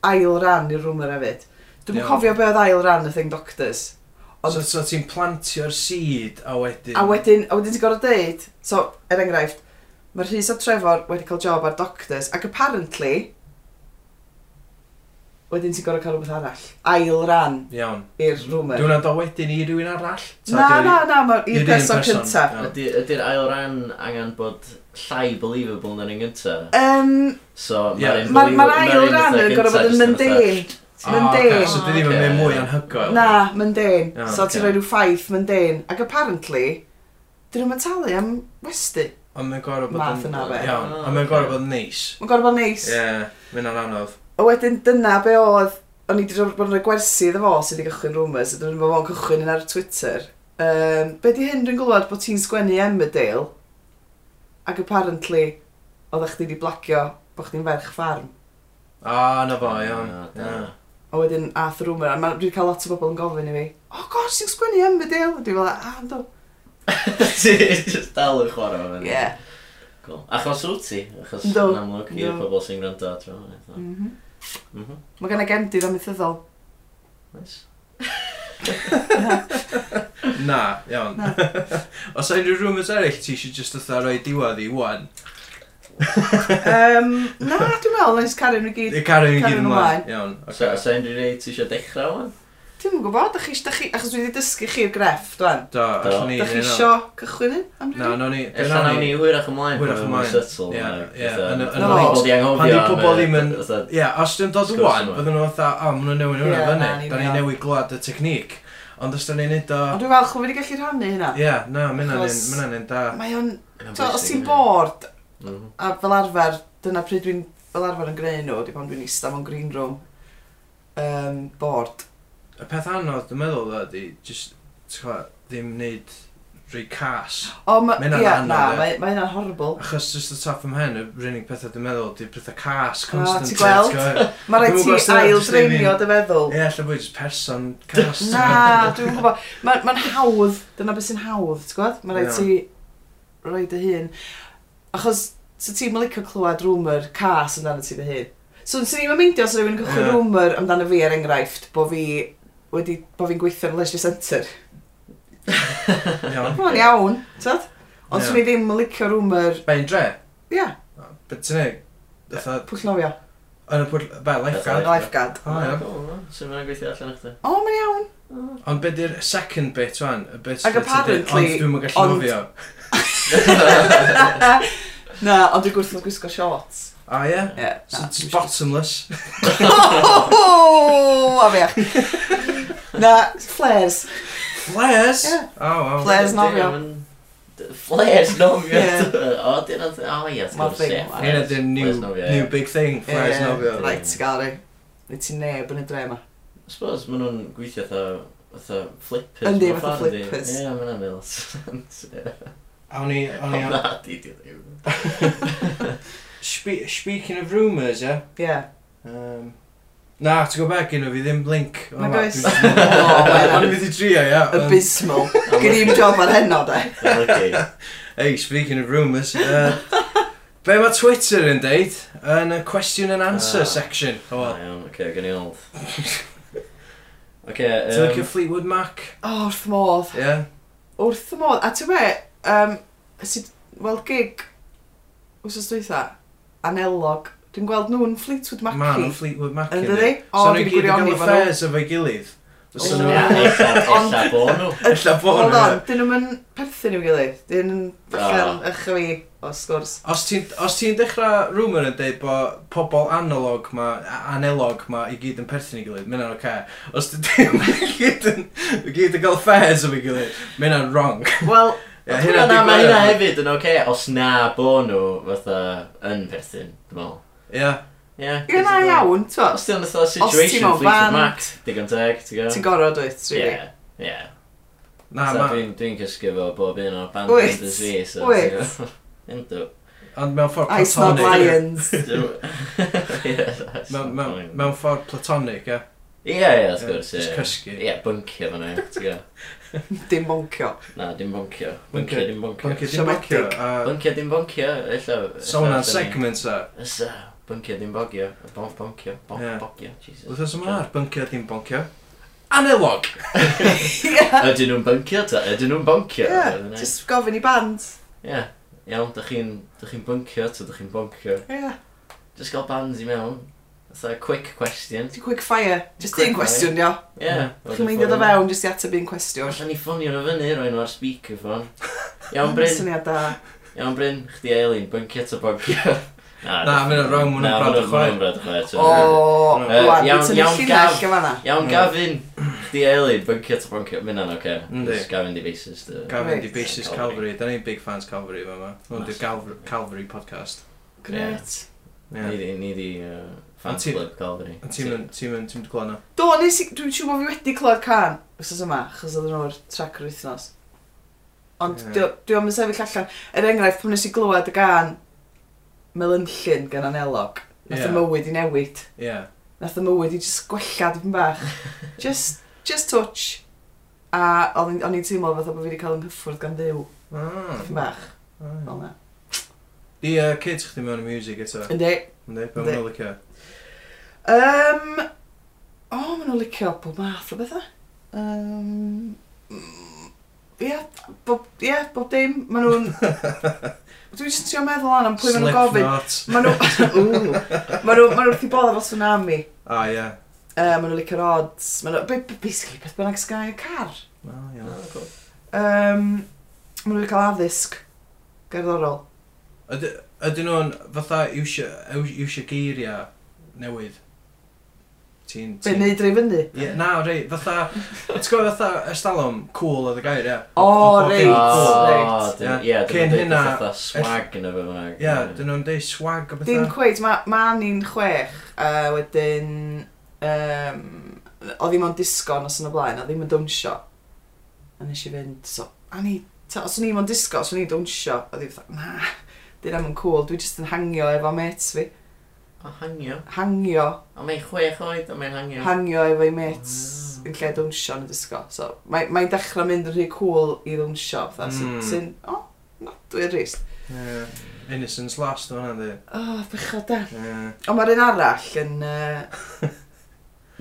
E: ail ran i'r rumour hefyd. Dwi'n
C: Iawn.
E: cofio be oedd ail ran y thing doctors. Ond-
C: So, so ti'n plantio'r seed a wedyn...
E: A wedyn, a wedyn ti'n gorfod deud, so, er enghraifft, mae'r Rhys o Trefor wedi cael job ar Doctors, ac apparently, wedyn ti'n gorfod cael rhywbeth arall. Ail ran
C: Iawn.
E: i'r rumour.
C: Dwi'n nad o wedyn i rywun arall? Ta Ah,
E: Na,
C: di-
E: na, na, mae'r
C: i'r
E: un
C: un
E: person
C: person,
E: cyntaf.
C: iawn.
A: Ydy- Ydy'r ail ran angen bod llai believable na'r un gyntaf.
E: Um,
A: So,
C: Ie.
A: mae'r un
E: Mae'r ma
A: believable-
E: ail
A: ma'r un
E: ran
A: fatha
E: yn gorfod bod
A: gyntaf
E: yn
A: jyst fatha-
E: mundane.
C: Ah,
E: Mundane.
C: oce, So dwi ddim yn mynd mwy anhygoel.
E: Na, mundane.
C: Iawn,
E: so ti'n
C: ocê.
E: rhoi rhyw ffaith mundane. Ac apparently, dyn nhw'n talu am westy.
C: Ond mae'n gorau bod
E: Math
C: yn...
E: yna fe.
C: Iawn,
A: Ah,
C: ond mae'n gorau
A: ocê.
C: bod yn neis.
E: Mae'n gorfod bod yn neis.
C: Ie, mae'n anodd.
E: A wedyn dyna be oedd, o'n i wedi bod yn rhoi gwersi iddo fo sydd wedi cychwyn rumours, a dwi'n meddwl fo'n cychwyn yn ar Twitter. Um, be di hyn dwi'n gwybod bod ti'n sgwennu Emmerdale, ac apparently, oedd chdi wedi blagio bod chdi'n ferch ffarm.
C: A, na fo, iawn.
A: Ah, da.
C: Ie.
E: A wedyn ath rumour, a mae- dwi wedi cael lot o bobl yn gofyn i fi, o oh, gos, ti'n sgwennu Emmerdale? Dwi'n fel, ah, ynddo.
A: [laughs] Ti just dal yn chwarae fan.
E: Ie. Yeah.
A: Cool. Achos wyt ti? Achos
E: Yndw,
A: yn amlwg i'r
E: yndw.
A: pobol sy'n gwrando adro. eitha.
E: Mm -hmm.
A: Mhm.
E: Mae gen i gemdydd amethyddol.
A: Nice.
C: Na, iawn.
E: Na.
C: [laughs] Os unrhyw rumours eraill, ti eisiau just ytho roi diwad i wan.
E: um, na, dwi'n meddwl, nes cario nhw i gyd.
C: I cario ni
E: Cario
C: gyd
E: nhw
C: ymlaen. Iawn,
A: So,
C: oce.
A: so unrhyw rei ti eisiau dechrau o'n?
E: Dwi'n gwybod, dach chi, dach chi, achos dwi wedi dysgu chi'r greff, dwi'n.
C: Do,
A: Do.
C: allan ni.
E: Dach chi
C: neu no?
E: isio cychwyn hyn? am
C: Na,
E: rywun?
C: no ni.
A: Ella nawn ni hwyrach ymlaen.
C: Hwyrach
A: pan mae'n
C: ymlaen.
A: Settle.
C: Ie,
A: like,
C: ie,
A: fatha,
C: yn y-
E: yn y-
A: ma' pobol di
C: Pan
A: anghofio.
C: di pobol ddim yn-
A: fatha-
C: Ie, os dwi'n dod
A: Sgwrs
C: wan,
A: yma.
C: bydden nhw fatha, a, maen nhw'n newid hwnna
E: Ie, na,
C: fyny.
E: ni'n
C: Da ni'n
E: iawn.
C: newid glad y technic. Ond os da ni'n neud o...
E: Ond dwi'n falch o fi wedi gallu rhannu hynna.
C: Ie, na, mae'n
E: Achos-
C: yn da.
E: Mae o'n,
A: Mae'n
E: t'o', os
A: bwysig,
E: ti'n
A: ie.
E: bored,
A: Mhm.
E: a fel arfer, dyna pryd dwi'n, fel arfer yn greu nhw, di pan dwi'n eista mewn green room, um, bored.
C: Y peth anodd, dwi'n meddwl, dda, di, just, ti'n gwbod, ddim neud rhoi cas.
E: O, ma,
C: Ma' hynna'n
E: ia,
C: anodd,
E: na,
C: ie.
E: mae ma hynna'n horrible.
C: Achos just the top of my head, yr unig pethau dwi'n meddwl, di pethau cas,
E: ti
C: constant.
E: gweld?
C: gweld?
E: Mae rhaid
C: Dwi'm yn gwbod
E: ti
C: os dyna
E: ail
C: jyst ddim
E: dreinio
C: un-
E: dy feddwl.
C: Ie, lle bod just person cas.
E: Na, dwi'n gwybod. Mae'n ma hawdd, dyna beth sy'n hawdd, ti'n gwybod? Mae'n rhaid
C: Ie.
E: ti roi dy hun. Achos, so ti'n licio clywed rwmr cas amdano ti dy hun. So, swn i'n meindio os rhywun yn cychwyn
C: Ie.
E: rwmr amdano fi, er enghraifft, bo fi wedi, bo fi'n gweithio yn y Leisure Centre.
C: Iawn.
E: Mae'n iawn, ti'n Ond
C: Ie.
E: swn i ddim yn licio rwmr,
C: Be'n dre?
E: ia,
C: Bet ti'n neud? Dwi'n
E: pwll nofio,
C: Yn y pwll, be, lifeguard.
A: Fatha-
E: lifeguard.
C: O,
A: Ah,
C: iawn.
A: cool, no? Sut mae'n gweithio allan o'ch ti?
E: O, mae'n
C: [laughs]
E: iawn.
C: Ond be di'r second bit wan? Y bit
E: Ac
C: lle ti'n deud,
E: apparently-
C: Ond dwi'm yn gallu
E: ond-
C: nofio.
E: Na, ond dwi'n gwrthod gwisgo shorts.
C: A ie?
E: Ie,
C: So
E: na,
C: it's
E: dwi'n
C: bottomless.
E: Oh, A fiach. Na, flares.
C: Flares?
E: Ie.
C: O, waw.
E: Flares nofio.
A: Dim yn- Flares nofio.
E: Ie.
A: O, dyn nhw... O, ie,
E: Ma'r
A: sgwrs,
E: thing,
A: ie.
E: ma'r-
C: Hyn ydy'r new,
A: Flares nofio,
C: new
A: ie.
C: big thing, flares
E: Ie,
C: nofio.
E: Right, ti'n gael ei. Nid ti'n neb yn y dre yma.
A: I suppose maen nhw'n gweithio fatha... Fatha flippers.
E: Yndi,
A: mewn
E: fatha
A: ffordd, yndi.
E: flippers.
A: Ie, maen nhw'n meddwl sense. ie.
C: A o'n i, o'n
A: Ond
C: i,
A: Na, di di ddim.
C: Spe- speaking of rumours, ie?
E: Ie.
C: Um, na, ti'n gwybod beth, gynnu fi ddim link. o
E: Nag
C: ma,
E: oes.
C: dwi'n jyst yn [laughs] meddwl-
E: O, wel.
C: O'n i fydd i trio, ie. [laughs]
E: Abysmal. Gyn i'n job ar heno, de.
A: Okay.
C: Hey, speaking of rumours,
E: [laughs]
C: uh, be mae Twitter yn deud yn y question and answer
A: Ah.
C: section? O,
A: Oh,
C: wel,
A: iawn, oce, gen i
C: [laughs]
A: old. Oce,
C: Ti'n licio
E: Um,
A: yym,
C: Fleetwood Mac?
E: O, wrth y modd.
C: Ie.
E: Wrth y modd. A ti'n be, um, sydd, wel, gig, wsos dwytha, anelog. Dwi'n gweld nhw'n Fleetwood
C: Man o
E: Maci.
C: Fleetwood Mac.
E: Yn
C: yndi?
E: dydi? O,
C: So nhw
E: dwi'n
C: gyd yn
E: gwirionedd
C: cael
E: efo nhw.
C: affairs efo'i gilydd. Os
E: O.
C: nhw...
A: Ia, [laughs] ella ella bod nhw.
C: Ella bod
E: Hold
C: nhw.
E: on, dyn nhw'n mynd perthyn i'w gilydd. Dyn nhw'n bychan
A: Ah.
E: eich fi, o sgwrs.
C: Os ti'n os ti'n dechrau rumour yn deud bod pobl analog ma, a- analog ma i gyd yn perthyn i gilydd, mae'n o'r okay. Os ti'n [laughs] ddim i gyd yn, i gyd yn cael affairs efo'i gilydd, mae'n o'r
E: [laughs]
C: wrong.
E: Wel,
C: [laughs] Ie,
A: Hynna
C: di
A: na, mae
C: gwir.
A: hynna hefyd yn oce, os na bod nhw fatha yn perthyn, dwi'n meddwl.
C: Ie,
A: Ie.
E: Ie, na iawn, t'wo,
A: Os ti'n fatha
E: ti'n
A: situation
E: mewn
A: Fleetwood
E: band-
A: Mac, digon teg, ti'n gwybod?
E: ti'n gorfod dwyt, really.
A: Ie, ie.
C: na
A: So
C: ma.
A: Dwi'n dwi'n cysgu fo bob un o'r band
E: Wyt,
A: members fi, so...
E: wyt.
A: [laughs] Yndw.
C: Ond mewn ffordd
E: Ice Not
C: platonic.
E: Lions.
A: [laughs]
C: Mewn- Mewn
A: Ie,
C: mewn ffordd platonic, ie.
A: ie, wrth gwrs,
C: Jyst
A: ie.
C: cysgu.
A: Ie, byncio fan e, ti'n gwybod?
E: Dim boncio.
A: Na, dim byncio.
C: Byncio.
A: Byncio, dim byncio.
C: Buncio dim buncio,
E: siomedig.
C: a
A: Byncio, dim byncio, ella...
C: Sona
A: ella dan ni-
C: segment e.
A: Ysa, byncio dim bogio, bonf boncio, bonf
C: Ie.
A: bogio, Jesus.
C: Wrth oes yma ar buncio dim buncio. Analog!
E: Ie,
A: Ydyn nhw'n byncio ta? Ydyn nhw'n byncio? Ydyn nhw-
E: just gofyn i band.
A: Ie, iawn, dych chi'n dych chi'n byncio ta, dych chi'n byncio.
E: Ie.
A: Just gael bands i mewn. Fatha quick question.
E: Just quick fire. Just
A: Quick
E: un
A: fire.
E: cwestiwn, ia.
A: Ie.
E: Chi'n mynd i ddod o fewn, just i ateb un cwestiwn.
A: Alla ni ffonio nhw fyny, roi nhw ar speakerphone. Iawn,
E: Ma'n
A: Bryn.
E: Syniad da.
A: Iawn, Bryn. Chdi Eileen, byncio ta
C: [laughs]
A: byncio.
C: Na, ma' hynna'n wrong, ma' hwnna'n brad o chwaer.
A: brad o chwaer.
E: O,
C: Yy,
E: wan,
A: Uh, iawn-
E: ti'n
A: iawn,
E: llinell
A: Gav.
E: yn fanna.
A: Iawn, Gavin. di eili, byncio ta byncio, mynd yna, oce.
C: Yndi.
A: Jyst Gavin di basis, dy.
C: Gavin di
E: Reit.
C: Basis Calvary, da ni'n big fans Calvary yma yma. Hwn di'r
A: Massive.
C: Calv- Calvary podcast.
E: Gret.
C: Ie.
A: Ni di, ni di, uh,
C: Ond
A: fans
C: ti-
A: club Calvary.
C: A ti'n mynd, ti'n mynd, ti'n mynd glona.
E: Do, nes i, dwi'n siŵr bod fi wedi clywed can wrthnos yma, achos oedd nhw'r trac yr wythnos. Ond
C: Ie.
E: yeah. dwi'n mynd sefyll allan. Er enghraifft, pan nes i glywed y gan Melynllun gan Anelog, nath
C: Ie.
E: y mywyd i newid.
C: Ie.
E: Nath y mywyd i just gwella dipyn bach. just, just touch. A o'n i'n- o'n i'n teimlo fatha bod fi wedi cael yng nghyffwrdd gan ddiw. Dipyn bach, fel na.
C: Di uh, Ah. kids chdi mewn i music eto.
E: Yndi.
C: Ynddi, pe
E: Yndi.
C: mwyn licio.
E: Um, o, oh, maen nhw'n licio bob math o bethau. Um, mm, Ie, yeah, bob, yeah, bob dim. Maen nhw'n... Dwi'n just trio meddwl an am pwy maen nhw'n gofyn.
C: Slipknot.
E: [laughs] Maen nhw'n... Maen nhw'n wrth i bod efo tsunami.
C: A Ah, ie.
E: Uh, maen nhw'n licio'r odds. Maen nhw'n... ba- ba- Basically, beth bynnag sgai y car.
C: O, ie.
E: Um, maen nhw'n cael addysg. Gerddorol.
C: Yd- Ydyn nhw'n fatha iwsio iw- iwsio geiriau newydd? Ti'n...
E: Be,
C: ti'n-
E: neud rei fyny?
C: Ie, na, rei, fatha, ti'n gwybod fatha estalwm, cool oedd y gair, ie.
E: O,
C: Bob dim
E: reit.
C: cool.
A: Oh,
E: reit.
A: dyn-
C: Ie.
A: ie, dyn
C: Cyn
A: nhw'n
C: hynna,
A: dweud fatha swag yn y fy mag.
C: Ie, dyn nhw'n deud swag o
E: Dim
C: bethau.
E: cweith, mae ma ni'n chwech, a wedyn, um, o ddim ond disgo nos yn y blaen, o ddim yn dawnsio. A nes i fynd, so, a ni, ta, os o'n i'n ond disgo, os o'n i'n dawnsio, o ddim fatha, na, dyn am yn cool, dwi jyst yn hangio efo mates fi.
A: O, hangio.
E: Hangio,
A: O, mae'n chwech oed, o, mae'n hangio.
E: hangio efo'i mates
A: Ah.
E: yn lle dawnsio yn y disgo. So, mae'n mae mae'n dechrau mynd yn rhy cool i dawnsio, fatha,
C: Mm.
E: mm. sy'n, o, na, dwi'n rhys.
C: Ie. Innocence lost o'n hynny.
E: O, oh, bechod da.
C: Ie.
E: Ond mae'r un arall yn... Uh,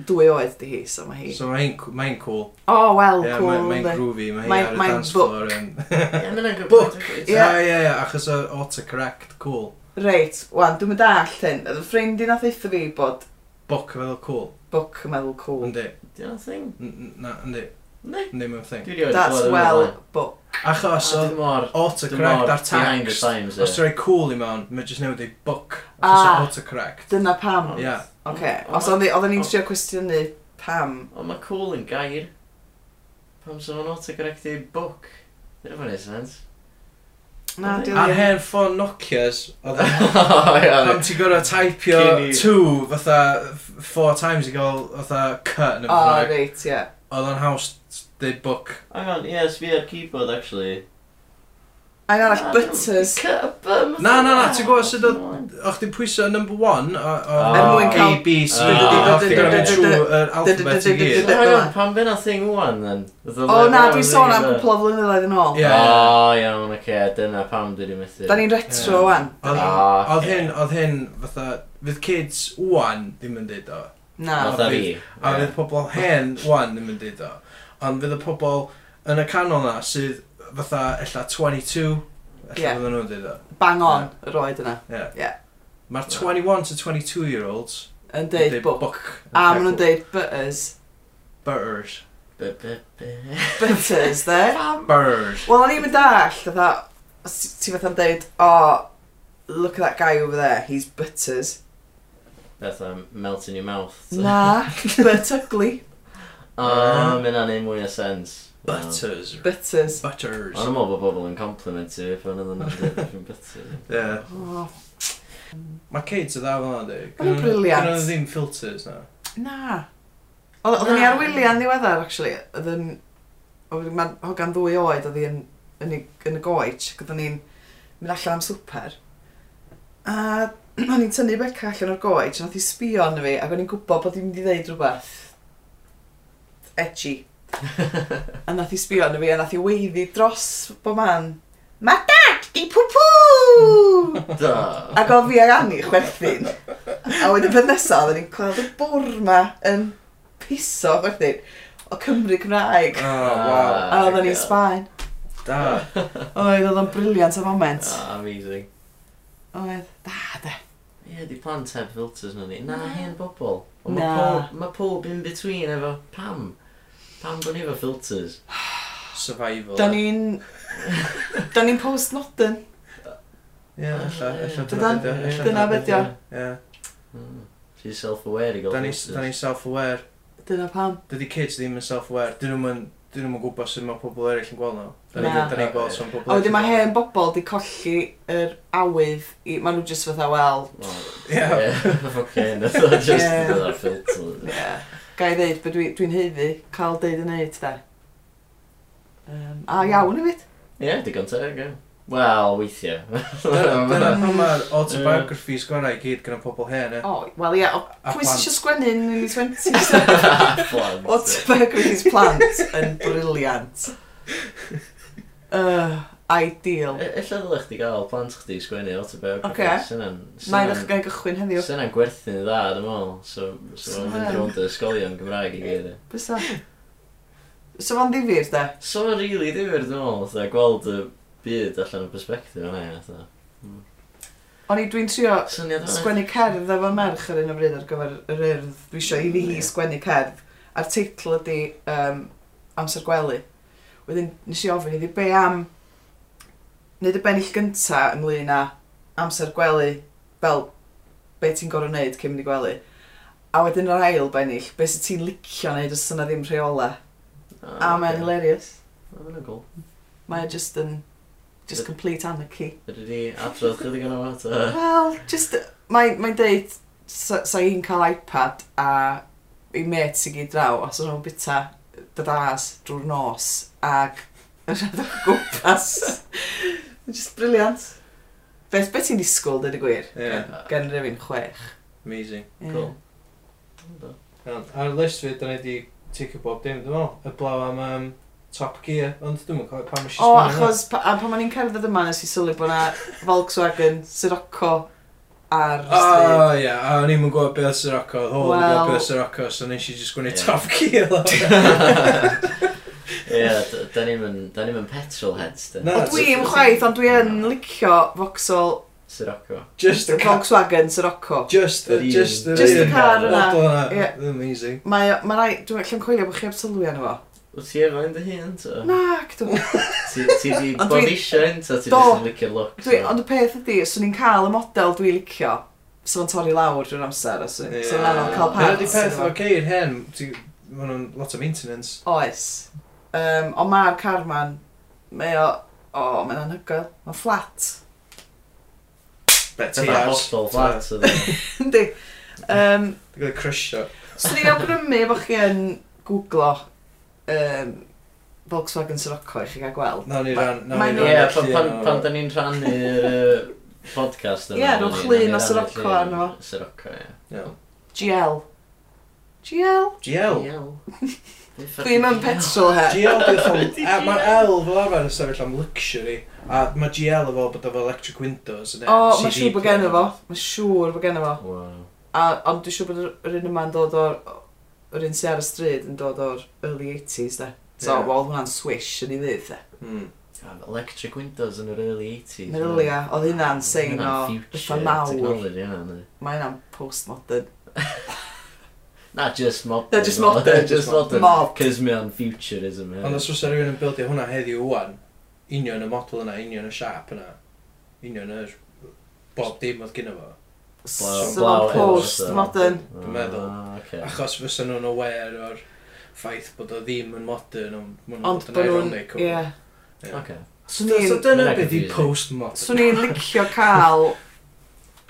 E: dwy oed di hi, so mae hi...
C: So mae'n mae cool.
E: O, oh, wel,
C: Ie,
E: cool.
C: mae- mae'n
E: ynde?
C: groovy, mae hi
E: Mae'n-
C: ar y
E: mae'n
C: dance
E: book.
C: floor. yn-
E: [laughs]
C: [laughs]
A: Ie, mae'n hangio.
C: Book.
E: Ie.
A: Ie.
C: Ie, ie, ie, achos o autocorrect, cool.
E: Reit, wan, dwi'n mynd all hyn. Y ffrind i nath eitha fi bod
C: Book, fel cool.
E: book yn meddwl cool.
C: Yndi.
A: Dyna'r thing.
C: N- n- Na, yndi.
A: Ne.
C: Yndi, mae'n thing.
A: Dwi wedi
E: That's well book.
C: Achos
A: So,
C: o
A: dim mor... Dim
C: autocorrect
A: mor
C: ar
A: behind the
C: text.
A: times,
C: Os
A: ie.
C: ti'n rhoi cool i mewn, mae'n just newid i book.
E: Ah.
C: Achos o autocorrect.
E: Dyna pam.
A: Ond-
C: Ie.
E: Oce, os oedd o'n i'n trio cwestiynu pam.
A: Ond mae cool yn gair. Pam sy'n o'n autocorrect i book. Dyna fan is sense.
E: Na,
A: Ond-
E: dwi'n
C: Ar hen ffôn Nokia's, oedd e-
A: [laughs]
C: Pam
A: Ie,
C: ti'n gorau taipio
A: Oh, Cyn i-
C: two fatha f- four times i gael fatha cut yn y
E: O,
C: ffrag.
E: Ah, reit, ie.
C: Oedd o'n haws deud book.
A: Hang on, ie, sbi ar keyboard, actually.
E: A'n
A: Na,
E: arall butters.
A: cut a bum.
C: Na, na, na, ti'n gwybod sydd
A: Ymlaen.
C: oedd... O'ch ti'n pwyso number one o... o-
A: Er
E: mwyn
C: A,
E: cael-
C: B, C,
A: Ah.
C: D, E, O'ch ti'n gorau mynd trwy yr alphabet i
A: So,
C: gyd.
A: Hang on, pan fyna thing one, then?
E: O, na, dwi'n sôn am cwpl o flynyddoedd yn ôl.
C: Ie.
A: O, iawn, oce, dyna pam dwi wedi methu.
E: Da
C: Ie.
E: ni'n retro wan.
C: Oedd
A: Ah,
C: oedd
A: ocê.
C: hyn, oedd hyn fatha... Fydd kids wan ddim yn deud o.
E: Na.
A: Fatha fi.
C: A
A: Ie.
C: fydd pobl hen wan ddim yn deud o. Ond fydd y pobl yn y canol na sydd fatha ella 22.
E: Ie.
C: Ella fydden nhw'n deud o.
E: Bang on, yr oed yna.
C: Yeah.
E: Ie.
C: Mae'r 21 to 22 year olds
E: Yn deud book.
C: yn
E: A maen nhw'n
C: cael
E: deud butters.
C: Butters.
A: Be, be, be.
E: Butters, de.
C: Butters.
E: Wel, o'n i'n mynd all, fatha, os ti- ti fatha'n deud, oh, look at that guy over there, he's butters.
A: Beth am melt in your mouth.
E: Na, [laughs] but ugly.
A: O, mae hynna'n neud mwy o sens.
C: Butters.
E: Butters.
C: Butters.
A: Ond yn meddwl bod bobl yn complimentu fi pan oedden nhw'n dweud beth yn
C: [laughs]
A: byty.
C: Yeah.
E: Oh,
C: Mae kids yn dda fel yna, di.
E: Ma' nhw'n brilliant.
C: Gwna ddim filters na.
E: na. Oedd oedden ni
A: Na.
E: ar wyliau'n ddiweddar, actually. Oedd yn... Oedd ma'n hogan ddwy oed, oedd hi yn, yn, y- yn y goet. ac Oedden ni'n mynd allan am swper. A [clears throat] o'n i'n tynnu beca allan o'r goet, a nath i sbio arno fi, ac o'n i'n gwybod bod hi'n mynd i ddeud rhywbeth. Edgy. A nath i sbio arno fi, a nath i weiddi dros bo man. Ma dad di pwpw!
A: Da.
E: Ac o fi ag Annie chwerthin. A wedyn peth nesaf, oedden ni'n gweld y bwr ma yn piso chwerthin o Cymru Cymraeg.
C: Oh, wow.
E: A oedden ni'n Sbaen.
C: Da.
E: Ah. Oedd oedd o'n briliant o moment.
A: Ah, amazing.
E: Oedd, da de.
A: Ie, yeah, di plant heb filters nhw ni. Na, hen bobl. Ond
E: Na.
A: Mae pob, ma pob in between efo pam. Pam bod ni efo filters?
C: Survival.
E: Da ni'n... Da ni'n post-modern.
C: Ie, ella, ella dyna
E: Dyna-
C: beth ydi o, ella
E: dyna
C: dyna beth
E: beth ydi o.
C: Ie.
A: Hmm. She's self-aware i gael
C: Da ni-
A: filters.
C: Da ni self-aware.
E: Dyna pam.
C: Dydy kids ddim yn self-aware. Dyn nhw'n dyn nhw'n gwybod sut mae pobl eraill yn gweld nhw. Dyn
E: Na.
C: ni'n gweld sut pobl
E: A wedyn mae hen
C: gweld
E: bobl di colli yr awydd i... Maen nhw jyst fatha, wel...
C: nhw. Ie.
A: Yeah, [laughs] fucking, that's not just
E: Yeah.
A: yeah. that filter.
E: Ie. Ga i ddeud, bod dwi'n dwi heiddi, cael deud yn neud, da. Um, a iawn i fyd.
A: Yeah, digon teg, ie. Wel, weithiau.
C: Dyna [laughs]
A: [laughs]
C: dyna
A: Dyna-
C: pam mae'r autobiographies gorau i gyd gyda pobl hen, e?
E: O, wel ie, o-
C: A
E: pwy
C: plant.
E: sy'n eisiau sgwennu yn y [laughs] 20s?
A: Plant.
E: Autobiographies plant yn
C: [laughs]
E: briliant. Uh, ideal.
A: E- Ella ddylech chdi gael plant chdi sgwennu
E: Ocê.
A: autobiography.
E: Mae'n
A: Mae'n
E: eich gael gychwyn heddiw.
A: Sy'n yna'n gwerthu'n dda, dwi'n meddwl. So, so
E: Sy'n
A: mae'n mynd
E: yn.
A: rownd y ysgolion Gymraeg i gyd. ie.
E: Bysa. So fo'n ddifur, da?
A: So, mae'n rili ddifyr, dwi'n meddwl. fatha, Gweld y byd allan o perspektif yna. ie, fatha.
E: O'n i dwi'n trio
A: Syniad yna.
E: sgwennu cerdd efo merch ar un o bryd ar gyfer yr urdd. Dwi eisiau i fi hi sgwennu cerdd. A'r teitl ydi um, Amser Gwely. Wedyn nes i ofyn iddi be am wneud y bennill gynta ymlaen â amser gwely fel be ti'n gorau wneud cyn mynd i gwely. A wedyn yr ail bennill, be sy'n ti'n licio wneud os yna ddim rheola. A mae'n hilarious.
A: Mae'n cool.
E: Mae o just yn... Just complete anarchy.
A: Ydy di adrodd chydig yn o'n
E: [laughs]
A: fat?
E: Wel, just, mae'n mae deud sa, sa i'n cael iPad a i met sy'n gyd draw, os o'n nhw'n bita dydas drwy'r nos ag yn rhaid o [laughs] gwmpas. just briliant. Beth be ti'n disgwyl, dweud y gwir?
C: Ie.
E: Gen rhywun chwech.
C: Amazing.
E: Ie.
A: Ah, Cool.
E: [laughs]
C: Iawn, Ar y list fi, dyna di ticio bob dim, dwi'n meddwl. Y blaw am um, Top Gear, ond dwi'n meddwl pam eisiau
E: O,
C: sgwennu hwnna.
E: achos pa, a pan ma'n i'n cerdded yma nes i sylwi bod na Volkswagen Sirocco ar
C: Ah.
E: y stryd.
C: O, ie, a o'n i'n gwybod beth sy'n roco, oedd hwn yn gwybod
E: Wel-
C: beth sy'n roco, so nes i just gwneud
A: Ie.
C: Top Gear [laughs] lawr.
A: Ie, d- da ni'm yn- da ni'm yn petrol heads, da.
C: Na.
E: O, dwi yn chwaith, ond dwi yn licio Vauxhall
A: Sirocco.
C: Just y car.
E: Volkswagen Sirocco.
C: Just,
A: Yr un.
C: just,
E: Just y car yna.
C: Model
E: Ie.
C: yna. Amazing.
E: Mae, mae rai, dwi'n allan coelio bod chi heb sylwi arno fo.
A: Wyt ti efo yn dy hun, ta?
E: Na, dwi'n...
A: Ti ti di
E: Ond
A: bod
E: dwi-
A: eisiau un, ta ti
E: Do.
A: jyst yn licio'r look?
E: Dwi, ond y peth ydi, os o'n i'n cael y model dwi'n licio, so fo'n torri lawr drwy'r amser, os o'n
C: Ie.
E: i'n anodd cael
C: Dyna di peth
E: parts.
C: o
E: arno fo.
C: geir hen, maen nhw'n lot o maintenance.
E: Oes. Um, ond mae'r carman, mae o, o, mae'n anhygoel. Mae'n flat. [laughs]
C: Bet
A: Fatha hostel flat, ydyn.
E: Yndi. Um,
C: Dwi'n gwneud crush o.
E: Swn i'n awgrymu bod chi yn googlo um, Volkswagen Sirocco i chi gael gweld.
C: Na ni
E: Ma-
C: ran, na
E: mae'n-
C: ni
A: Ie,
C: ran.
A: pan-
C: allan
A: pan-
C: o-
A: pan da ni'n rhannu'r yy, podcast yma.
E: Ie,
A: da
E: rhowch
A: ni-
E: llun
A: da
E: o
A: ni'n
E: Sirocco
A: rhannu'r llun
E: arno fo.
A: Sirocco, ie.
C: Iawn.
E: GL. GL?
C: GL.
E: [laughs] Dwi'n yn petrol he.
C: GL
A: [laughs]
C: beth o'n... Mae e, L fel arfer yn sefyll am luxury, a mae GL efo bod efo electric windows. e, neu
E: O,
C: CD
E: mae'n siŵr bod
C: player.
E: gen fo. Mae'n siŵr bod gen fo.
A: Wow.
E: A, ond dwi'n siŵr bod yr- yr un yma'n dod o'r... Yr un sy ar y stryd yn dod o'r early 80s, de.
C: Ie.
E: So, yeah. wel, hwnna'n swish yn ei ddydd, de.
C: Hmm.
A: God, Electric windows yn yr early 80s.
E: Mae'n ilia, oedd hynna'n sein o
A: Future
E: bethau mawr.
A: technology, hynna, yndi.
E: Mae hynna'n postmodern.
A: Na, just modern.
E: Na, just modern.
A: Just modern.
E: Mod.
A: Cos mi o'n futurism. ie.
C: Ond os fysa rhywun yn bildio hwnna heddiw wan, union y model yna, union y siap yna, union y bob dim oedd gyda fo.
A: Blaw-
E: So,
A: blaw
E: mae'n
A: efo,
E: postmodern.
A: so.
C: Dwi'n meddwl.
A: Ah, oce.
C: Achos fysa nhw'n aware o'r ffaith bod o ddim yn modern, ond maen nhw'n
E: Ond
C: bod yn
E: bod nhw'n...
C: ironic. o-
E: Ie.
C: Ie.
A: Oce.
E: Swn
C: So
E: i'n-
C: dyna
A: Mae'n
C: beth i
A: confusing.
C: post-modern.
E: swn i'n licio cael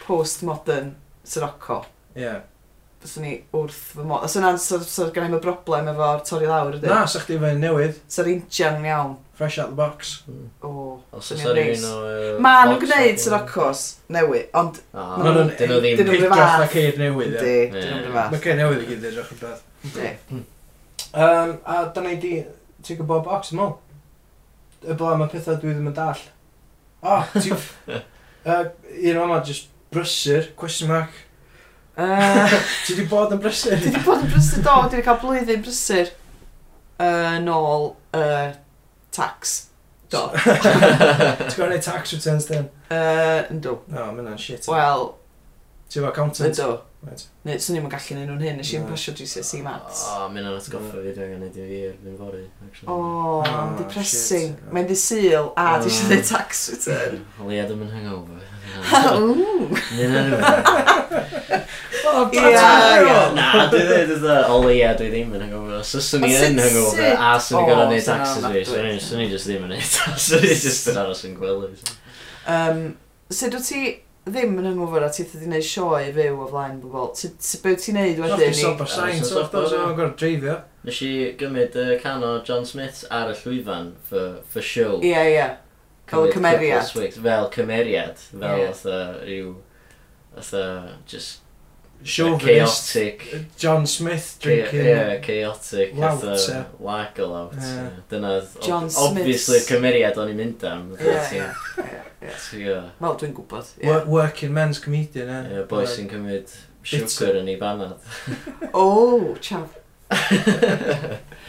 E: postmodern Sirocco.
C: Ie.
E: Swn i wrth fy mod. Os yna'n sort of gen i'm y broblem efo'r torri lawr, ydy?
C: Na, sa chdi fe'n newydd,
E: Sa'r injan iawn.
C: fresh out the box.
E: O,
A: Hmm. Os
E: Swnio'n
A: oes ar
E: neis.
A: un o...
E: Ma nhw'n gwneud sy'n acos newydd, ond
C: Ah.
A: Ma
E: Ma'
A: nhw'n...
E: nhw'n-
A: Ah, Dyn nhw
E: dyn
A: ddim...
E: nhw-
C: Pidrach
E: fath.
C: na ceir newydd,
E: ynddi,
C: ie.
E: dyn nhw'n
A: Ie.
E: rhywbeth.
C: Mae ceir newydd i gyd edrych yn beth.
E: Ynddi.
C: Um, a dyna i di tig o bob box yma. Y blaen mae pethau dwi ddim yn dall. O, oh, ti... [laughs] uh, un o'ma, just brysur, question mark.
E: Yy,
C: Ti di bod yn brysur?
E: Dwi wedi bod yn brysur do, dwi wedi cael blwyddyn brysur yy, nôl yy, tax. Do.
C: [laughs] Ti'n gwneud tax returns then?
E: Yy, Yndw.
C: No, mae hwnna'n shit.
E: Wel,
C: Ti efo accountant?
E: yndw.
C: Right. Ah.
E: Neu, swn i'm yn gallu neud nhw'n hyn, nes i'n
C: Na.
E: pasio GCSE E Maths.
A: O, mi'n o'n Ah, atgoffa fi, dwi'n gwneud i fi erbyn fory, actually.
E: O,
C: Ah,
E: depressing.
C: shit.
E: Mae'n ddisil, a
A: Ah.
E: dwi eisiau
C: Oh.
E: neud tax
C: [laughs]
E: return.
A: Wel, ie, ddim yn
E: [laughs]
A: hangover.
E: Ww.
A: Nid yn yma.
C: Oh,
E: Ie, ie.
A: Na, Na, dwi dweud ydy, o leia dwi ddim yn hungover. So swn i
E: Ond
A: yn
E: sut-
A: hungover,
E: sut?
A: a swn i
E: O,
A: gorau neud
E: swn i-
A: taxes
E: na,
A: fi,
E: dwi-
A: swn i- swn i just ddim yn neud taxes, [laughs] swn i just yn aros yn gwely. so.
E: Um, sut wyt ti ddim yn hungover a ti wedi gwneud sioe fyw o flaen bobl? Sut sut- be wyt ti'n neud
C: Os ti'n
E: wedyn i...
C: sober science,
A: Os ti'n
C: os ti'n sober dreifio.
A: Nes i gymryd y can o John Smith ar y llwyfan for, for show.
E: Ie, ie. Fel y
A: Cymryd couple
E: cymeriad.
A: swigs, Fel cymeriad. Fel
E: Ie.
A: oedd uh, rhyw... Oedd uh, just
C: Chauvinist.
A: chaotic.
C: John Smith drinking.
A: Ie, chaotic.
C: Lout,
A: fatha
C: ie.
A: Wag a lot.
C: Ie.
A: ie. Dyna oedd ob-
E: John Smith's.
A: obviously y cymeriad o'n i'n mynd am.
E: Ie,
A: fatha,
E: ie.
A: ti'n- ti'n gwbo.
E: Wel, dwi'n gwybod. ie.
C: Wo- Working men's comedian, eh?
A: Ie, boi sy'n cymryd
C: Bit-
A: siwgr yn ei banad.
C: [laughs]
E: O, chaf. [laughs]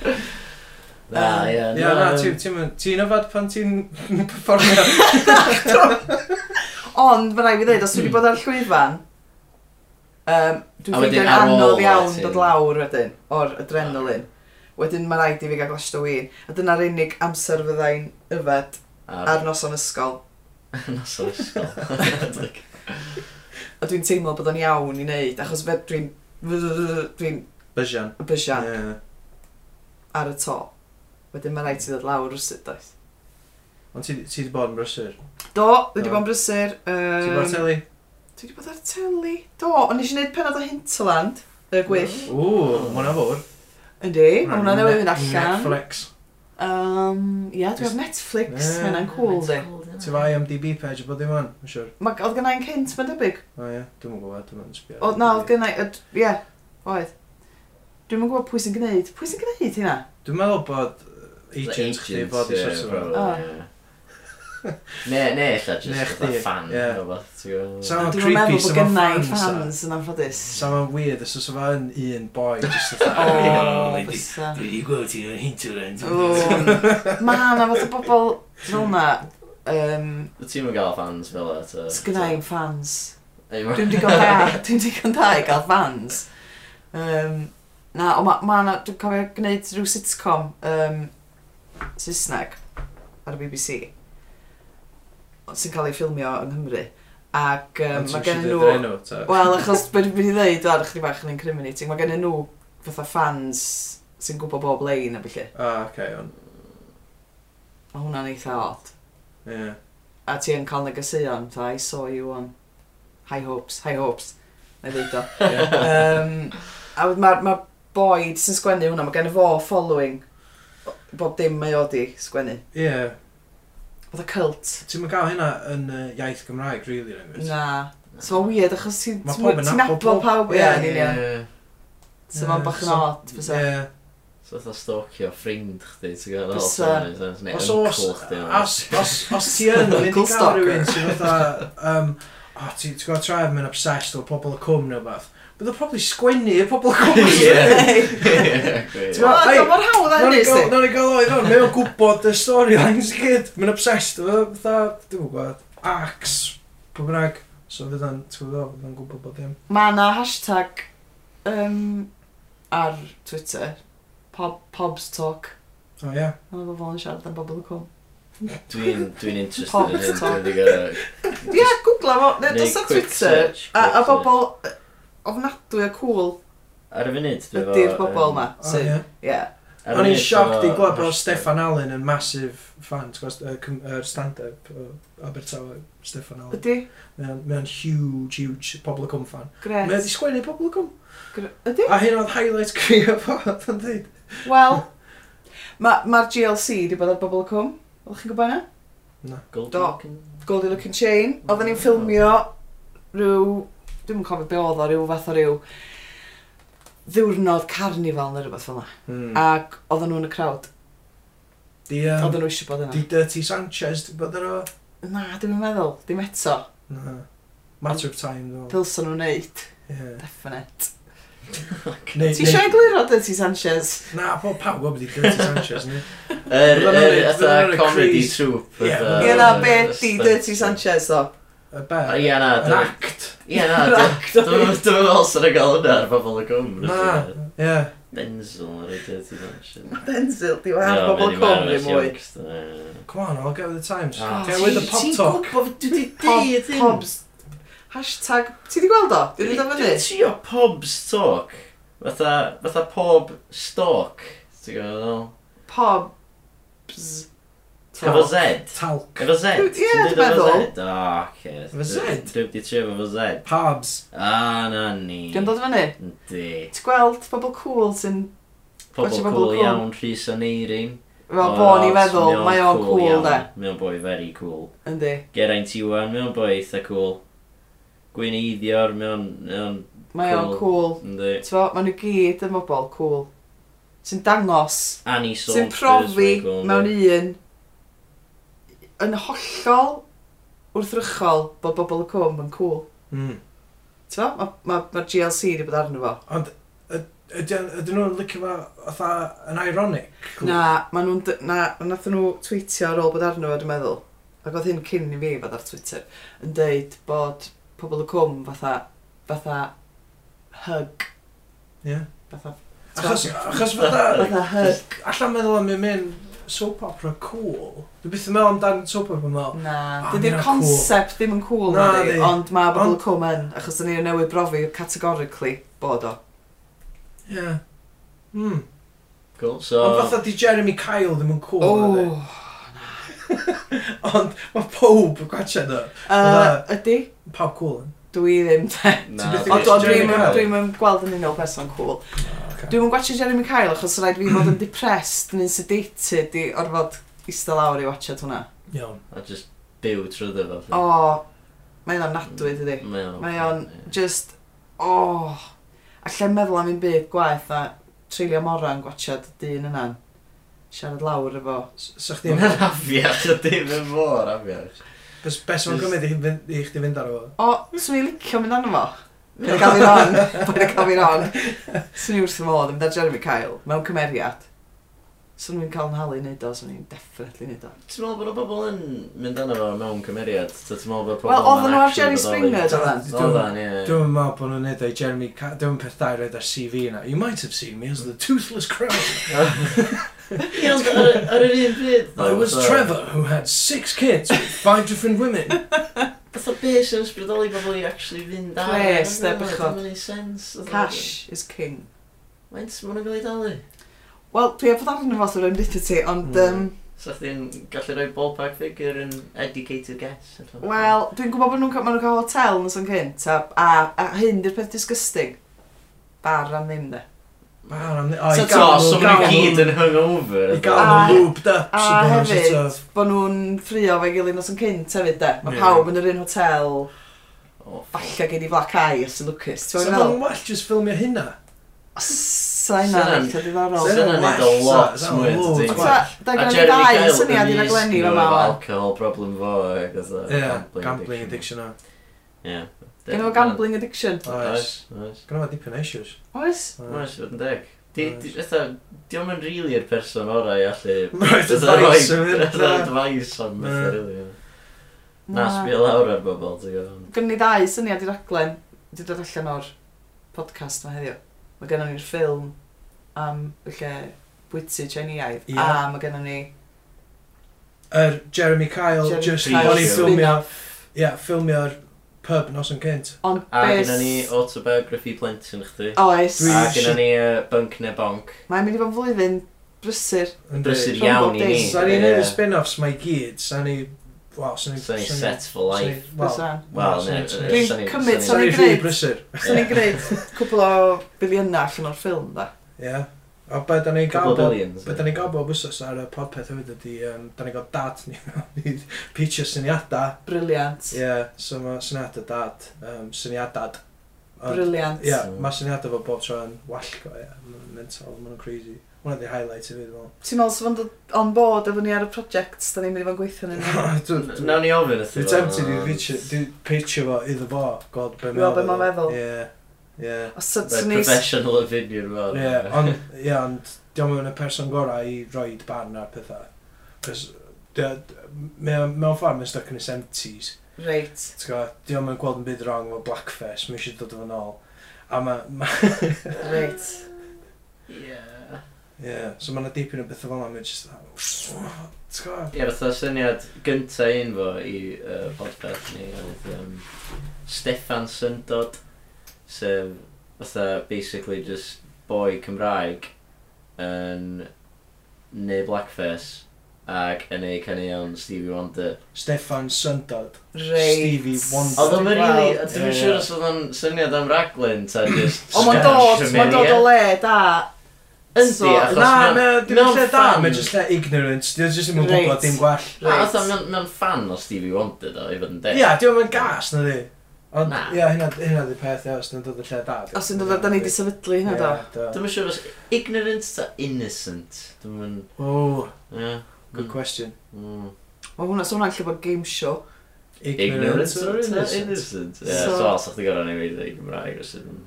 A: Na,
E: Yym,
A: ie.
C: Ie, na,
A: yym,
C: ti- ti'n mynd- ti'n yfad pan ti'n [laughs] performio.
E: Ond, fe rai fi ddeud, os dwi wedi bod ar llwyfan, um,
A: A
E: dwi'n
A: wedyn
E: ffeindio'n
A: ar ôl Ah.
E: anodd iawn
A: ti'n-
E: dod lawr wedyn, o'r adrenalin. Wedyn mae rhaid i fi gael glasht o win. A dyna'r unig amser fyddai'n yfed
A: Ar
E: ar
A: [laughs]
E: noson ysgol.
A: nos o'r
C: [laughs]
A: ysgol.
E: A dwi'n teimlo bod o'n iawn i wneud, achos fe dwi'n [laughs] dwi'n
C: Bysian.
E: bysian
C: Ie.
E: ar y to. Wedyn mae rhaid i ddod lawr rwsyd oes.
C: Ond ti ti 'di bod yn brysur.
E: Do, dwi wedi
C: Do.
E: bod yn brysur.
C: Ti'n bod ar
E: yym,
C: teli?
E: Dwi wedi bod ar teli. Do, ond nes i wneud penod o Hinterland, y gwyll.
C: Ww, ma' hwnna fawr.
E: Yndi, mae hwnna newydd yn allan.
C: Netflix.
E: Um, ia, dwi ar Netflix,
C: Ie.
E: yeah, mae'n cool di.
C: Ti fa IMDb page o bod ddim yn, yn siwr.
E: Ma- Oedd gennau'n cynt, mae'n debyg.
C: O ie, dwi'n yn gwybod, dwi'n yn sbio.
E: O, na, oedd gennau, yy, ie, oedd. Dwi'n mynd gwybod pwy sy'n gwneud. Pwy sy'n gwneud hynna?
C: Dwi'n meddwl bod yy, agent chdi bod i sort of...
A: Ne, ne, illa,
C: Ne,
A: just
C: chdi,
A: fatha fan.
C: ie.
A: neu wbath, ti'n gwbo.
C: Sound
E: Dwi'n
C: creepy,
E: meddwl bod
C: some of
E: gennau
C: fans.
E: fans yn anffodus.
C: Sa ma'n weird, os oes yma yn un boi, just [laughs]
E: [laughs] O,
C: fatha...
E: bysa.
F: Dwi wedi gweld ti'n yn hinterland.
E: O, Mae hana fath o bobl fel na, um,
A: Ti'm yn gael fans fel e, ta-
E: sgynnau'n fans.
A: ta- [laughs]
E: Dwi'n digon da, dwi'n digon da i gael fans. Um, na, ond ma, ma na, dwi'n cofio gwneud rhyw sitcom um, Saesneg ar y BBC ond sy'n cael ei ffilmio yng Nghymru ac um, mae gen nhw Wel, achos beth fi'n ddeud ar chdi bach yn incriminating, mae gen nhw fatha fans sy'n gwybod bob lein a felly.
C: O, oce, on.
E: Mae hwnna'n eitha odd. [laughs]
C: Ie.
E: A ti yn cael negeseuon, ta, I saw you on high hopes, high hopes. Na i ddeud o.
C: Ie.
E: um, a mae'r ma boed sy'n sgwennu hwnna, mae gen i fo following bob dim mae o di sgwennu.
C: Ie.
E: Oedd y cult.
C: Ti'n mynd gael hynna yn yy, iaith Gymraeg, really, rhaid.
E: Na. So mae'n weird achos ti'n
C: Ma'
E: ti'n-
C: pawb yn
E: ti'n
C: nabod
E: nabod
C: pawb.
E: pawb. Ie,
C: Ie,
E: yn union.
A: Ie.
E: So mae'n bach yn
C: So-
E: odd, fysa. [laughs]
C: Ie.
A: So fatha stalkio ffrind chdi, ti'n gwbo, that
E: Fysa.
A: all makes sense, neu
C: Os oes,
A: uncle chdi, neu-
C: os, os, os ti
E: [laughs]
C: yn mynd i
E: Uncle
C: gael
E: stalker.
C: rhywun sy'n fatha, um, oh, ti, ti'n gwybod traf mynd obsessed o pobl y cwm neu beth, but they'll probably sgwennu i'r pobl y
A: [laughs]
C: cwm.
A: [laughs] Ie.
C: Ti'n
A: Ie.
C: gwbo, ei,
E: Wel, Mor hawdd
C: Nawr
E: hynny,
C: i gael-
E: sti.
C: nawr i gael oedd o'n, mae'n gwybod y storylines i gyd, mae'n obsessed o, fe, fatha, dwi'n gwybod, ax, pwy bynnag, so fydd o'n, ti'n gwybod, fydd o'n gwybod bod ddim.
E: Mae na hashtag um, ar Twitter, Pob, Pobs Talk.
C: O ie.
E: Mae'n bobl yn siarad am bobl y cwm.
A: Dwi'n dwi'n interested
E: Pop
A: yn hyn,
E: talk.
A: dwi'n digon
E: Ie, gwgla fo. Ne,
A: Neu
E: Dos ar
A: quick
E: Twitter.
A: search,
E: A, a
A: quick
E: bobl yy, ofnadwy a cool
A: Ar y funud, dwi efo,
E: ydy'r bobl
A: yym,
E: ma.
C: O ie.
E: sy'n- Ie.
A: ar y
C: O'n i'n
A: funud
C: sioc
A: efo
C: di gwybod bod
A: hashtag.
C: Stefan Allen yn massive fan, ti'n gwybod, yr stand-up o Abertawe, Stefan Allen.
E: Ydy?
C: Mae o'n huge, huge pobl y cwm fan. Mae
E: Gret.
C: wedi sgwennu pobl y cwm.
E: Gre- Ydy?
C: A hyn oedd highlight crio [laughs] pod yn dweud.
E: Wel, mae'r ma ma'r GLC di bod ar bobl y cwm. Oeddech chi'n gwybod yna?
A: Golden
E: Do.
A: Chicken?
E: Goldie Looking Chain. Oedden ni'n ffilmio rhyw... Dwi'n yn cofio be oedd o, rhyw fath o rhyw ddiwrnod carnifal neu rhywbeth fel yna. Ac oedden nhw yn y crowd.
C: Di, um,
E: Oedden nhw eisiau bod yna.
C: di Dirty Sanchez, di bod ar o?
E: Na, dwi'n meddwl. Dim eto.
C: Na. Matter of time, ddo.
E: Dylsyn nhw'n neud.
C: Ie.
E: Definite.
C: Neu-
E: Ti
C: neu-
E: eisiau egluro dy ti Sanchez?
C: Na, pob pawb gwybod i Dirty Sanchez, ni.
A: Yr
C: Fyddan nhw'n
A: yr
C: neud-
A: fatha
C: fyddan nhw'n
A: comedy
C: crazy.
A: troupe
C: Ie.
A: fatha-
E: Ie na, be
A: yy,
E: di
A: stunt.
E: Dirty Sanchez o?
C: Y
A: O,
C: be?
A: Ie na,
C: Yn
A: dwi-
C: act.
A: ie
E: [laughs]
A: na, dwi- dwi'n meddwl sy'n gael hwnna ar bobl y gwm.
C: Na. Ie.
A: Benzel ar y dirty mansion.
E: Denzil, di wahan bobl cwmri mwy.
C: Come on, I'll get with the times.
A: Ah.
C: Get with the pop talk.
A: Dwi
E: Pob, pobs. Hashtag, ti di gweld o? Di wedi dod fyny?
A: Ti o pobs talk? Fatha, fatha pob stalk, ti'n gwybod?
E: Pobs.
A: Efo Z.
C: Talc.
A: Efo Z. Ti'n
E: Ie, dwi'n
A: deud efo
E: meddwl.
A: Z? O, ces.
C: Efo Z?
A: Dwi'n di trio efo Z.
C: Pabs.
A: A, na ni.
E: Dwi'n dod fyny.
A: Yndi.
E: Ti'n gweld pobl cool sy'n...
A: Pobl
E: Gwatsio pobl
A: cool
E: cool.
A: iawn, Rhys Aneirin.
E: Fel bo ni'n meddwl, mae o'n cool da.
A: Mae o'n boi very cool.
E: Yndi.
A: Geraint Iwan, mae o'n boi eitha cool. Gwyn Eiddior, mae o'n... mae o'n...
E: Mae o'n cool.
A: Yndi.
E: T'fo, mae nhw gyd yn bobl cool. Sy'n dangos.
A: Annie Saunders.
E: Sy'n profi
A: mae'n cool, yndi.
E: mewn un. Yn hollol wrthrychol bod bobl y cwm yn cool.
A: Hmm.
C: Mm.
E: T'fo, mae ma, ma GLC wedi bod arno fo.
C: Ydyn nhw'n licio fo fatha yn ironic? Cool.
E: Na, ma nhw'n... d- Na, nath nhw tweetio ar ôl bod arno fo, dwi'n meddwl. Ac oedd hyn cyn i fi fod ar Twitter. Yn deud bod pobl y cwm fatha... Fatha... Hug.
C: Ie.
E: Fatha...
C: Achos, achos fatha...
E: Fatha hug.
C: Alla meddwl am ym un soap opera cool. Dwi byth yn meddwl amdan soap opera meddwl.
E: Na,
C: Ah,
E: dydy'r
C: ma' hynna'n
E: concept ddim yn cool,
C: Na,
E: na,
C: ydi.
E: ond mae bobl
C: Ond-
E: y cwm yn, achos ni'n newid brofi categorically bod o.
C: Ie. Mm.
A: Cool,
C: Ond
A: so...
C: fatha di Jeremy Kyle ddim yn cool. nadi?
E: O, Oh.
C: Ond mae pob yn gwachio nhw.
E: Yy, ydy?
C: Pawb cool yn.
E: Dwi ddim te.
A: Na,
C: Ti byth
E: Ond
C: gweld
E: dwi'n
C: Jeremy Kyle?
E: dwi'n gweld yn unol person cool. Dwi'n mwyn gwachio Jeremy Kyle achos rhaid fi fod yn depressed neu'n sedated i orfod eistedd lawr i watchad hwnna.
C: Iawn.
A: A just byw trwyddo fo.
E: O, mae o'n ofnadwy dydi.
A: Mm, Mae o'n...
E: Mae o'n just, o, oh, a lle meddwl am un byd gwaith a treulio moran gwachad dyn yna. Siarad lawr efo.
C: Sa chdi
A: Dwi'n
C: yn...
A: rafiach, ydy,
E: [laughs]
A: mae'n mor rafiach.
C: Bes mae'n gymryd i fynd- i chdi fynd ar o.
E: O, swn i'n licio mynd arno fo. Paid y cael fi'n on, paid y cael fi'n on. Swn i wrth fy modd yn mynd ar Jeremy Kyle, mewn cymeriad. Swn i'n cael yn halu neud o, swn i'n definitely neud o.
A: Ti'n meddwl bod o bobl yn mynd arno fo mewn cymeriad? So ti'n meddwl bod pobl
E: Wel, oedden
A: ma'n
E: nhw ar
A: actually
E: Jerry
A: bodoli?
E: Springer,
C: oeddan?
A: Oedden, ie.
C: Dwi'n meddwl bod nhw'n neud o'i Jeremy Kyle. Dwi'n peth da i roed ar CV yna. You might have seen me as the Toothless Crow.
A: [laughs] Ie, ond ar- ar yr un byd.
C: I was Trevor, who had six kids with five different women.
A: Fatha be sy'n ysbrydoli bobl i actually fynd ar.
E: Pres, de, bechod.
A: Mae'n ei sens. fatha.
E: Cash is king.
A: Mae'n ma'n gael ei dalu.
E: Wel, dwi a bod arno fo sy'n rhaid ti, ond,
C: Mm.
E: um,
A: So chdi'n gallu rhoi ballpark figure yn educated guess. I don't know.
E: wel, dwi'n gwybod bod nhw'n ca- ma' nhw'n cael hotel yn ysyn cynt, a, a, a hyn di'r peth disgusting. Bar am ddim, de.
C: Man, I'm...
E: So
C: I
A: So,
E: gael
A: so
E: gael
A: mae'n gyd yn hungover.
C: I
A: ydyn?
C: got
E: A-
C: them looped up.
E: A
C: so they're sort
E: hefyd,
C: of-
E: bod nhw'n ffrio fe gilydd nos yn cynt hefyd, de. Mae
C: Ie.
E: pawb yn yr un hotel,
A: Oh,
E: falle gen i Black Eye os yn lwcus.
C: So
E: Ti'n
C: fod
E: meddwl?
C: nhw'n well just ffilmio hynna.
E: Sa
A: Sa-
E: hynna'n eitha diddorol.
C: Sa-
A: Dyna
C: well,
A: nid o lot
C: sa- sa-
A: mwy
C: loads
A: dydy.
E: Ond
C: well.
E: ta, da gen i ddau syniad i'r aglenni fe
A: efo
E: ma'n.
A: alcohol problem fo. ac oedd o
C: Yeah, gambling addiction uh, o.
A: Ie.
E: Gen nhw gambling addiction.
C: Oes.
A: Oes, oes.
C: Gwna ma dipyn o issues.
E: Oes?
C: Oes.
A: Oes, fod yn deg. Di, di,
C: Oes.
A: eitha, di o'm yn rili i'r person orau i allu...
C: [laughs] Roedd y
A: Fatha
C: ddais yn
A: rhoi-
C: mynd.
A: fatha advice am
C: Na.
A: bethau rili. ie. Na, sbio lawr ar bobl, ti'n gwybod.
E: Gynnu ni ddau syniad i'r aglen, wedi dod allan o'r podcast yma heddiw. Mae gennym ni'r ffilm am y lle bwyty Chinaiaidd,
C: Ie.
E: a mae gennym ni
C: Yr Jeremy Kyle,
E: Jeremy
C: just
A: Kyle
C: bod i
A: show.
C: ffilmio... Ie, ffilmio'r pub nos yn cynt.
E: ond
A: A
E: beth...
A: gyda ni autobiography plentyn chdi.
E: Oes.
C: Dwi-
A: A gyda ni yy, bunk neu bonk.
E: Mae'n mynd i fod yn flwyddyn brysur.
A: Brysur
E: Rhwng
A: iawn
E: bob
A: i ni.
E: dim.
C: Sa ni'n
A: Ie.
C: neud y spin-offs mae gyd, sa ni... Wel, sa ni...
A: Sa ni set for life.
E: Fysa.
A: Wel, ne.
E: Dwi'n
A: sa ni-
E: cymryd
A: sa
C: Sa
A: ni-
E: Sorry,
C: ni rhi
E: great.
C: brysur.
E: Swn ni'n gwneud cwbl o biliynau allan o'r ffilm, da.
C: Ie. A be da
A: Couple
C: ni'n gael
A: of
C: bob...
A: billions.
C: Be da ni'n gael bob wsos ar y podpeth hefyd ydi... yym, Da ni'n gael dad ni [laughs] i pitio syniadau.
E: Briliant.
C: Ie, so mae syniadau dad. yym, Syniadad. Ond-
E: Briliant.
C: Ie, mae syniadau fo bob tro yn wallgo, ie. Ma' nhw'n mental, ma' nhw'n crazy. Hwna di highlight i fi, dwi'n
E: Ti'n meddwl sef ond on board efo ni ar y project, da ni'n mynd i fod yn
C: [laughs]
E: gweithio yn
A: [laughs]
E: yna.
C: meddwl.
A: Nawn ni ofyn y
C: Dwi'n tempted i pitch- dwi- pitch fo iddo fo, gweld be
E: Gweld be ma'n meddwl.
C: Ie, ie.
E: Os swn ni...
A: Professional opinion fo.
C: Ie, ond, ie, ond, diolch yn y person gorau i roed barn ar pethau. Cos, dy- dy- mae o- mewn ffordd mae'n stuck yn y 70s.
E: Reit.
C: Ti'n gwbod, diolch yn gweld yn byd wrong efo Blackfest, mae eisiau dod o fan ôl. A mae, ma,
E: Reit.
C: Oh.
A: Ie.
C: ie, so mae'n dipyn o bethau fel yma, mae'n just, oh, ti'n gwbod.
A: Ie, fatha syniad gynta un fo i uh, podpeth ni oedd um, Steffan Syndod sef fatha basically just boi Cymraeg yn neu blackface ac yn ei caneuon Stevie Wonder.
C: Stefan Sundod.
E: Reit.
C: Stevie Wonder.
A: Oedd o'n really,
E: Wel,
A: dwi'n
C: ie.
A: yeah. siŵr os oedd o'n syniad am raglen, ta just...
E: O, mae'n dod, mae'n dod o le, da.
A: Yndi, achos
C: Na,
A: mae'n...
C: mae dim
A: mewn
C: lle da,
A: fan-
C: mae jyst lle ignorance, dwi'n jyst ddim yn
E: Reit.
C: gwybod dim gwell.
A: Na,
E: Reit.
A: oedd o'n mewn fan o Stevie Wonder, do, i fod yn deg.
C: Ia, diwm yn gas, na di. Ond,
A: Na.
C: ia, hynna, hynna di peth, ia, os dwi'n dod y lle da.
E: Os yn dod, da ni di sefydlu hynna do.
C: do.
A: Dwi'n siŵr os ignorant ta innocent. Dwi'n...
C: O,
A: Yeah.
C: good question.
A: Mm.
E: Mae hwnna, so hwnna'n lle bod game show.
A: Ignorant
C: Ignorance or
A: ta
C: innocent?
A: innocent. Ie, so
E: So-
A: os o'ch ti gorau neu wedi dweud Gymraeg os ydyn.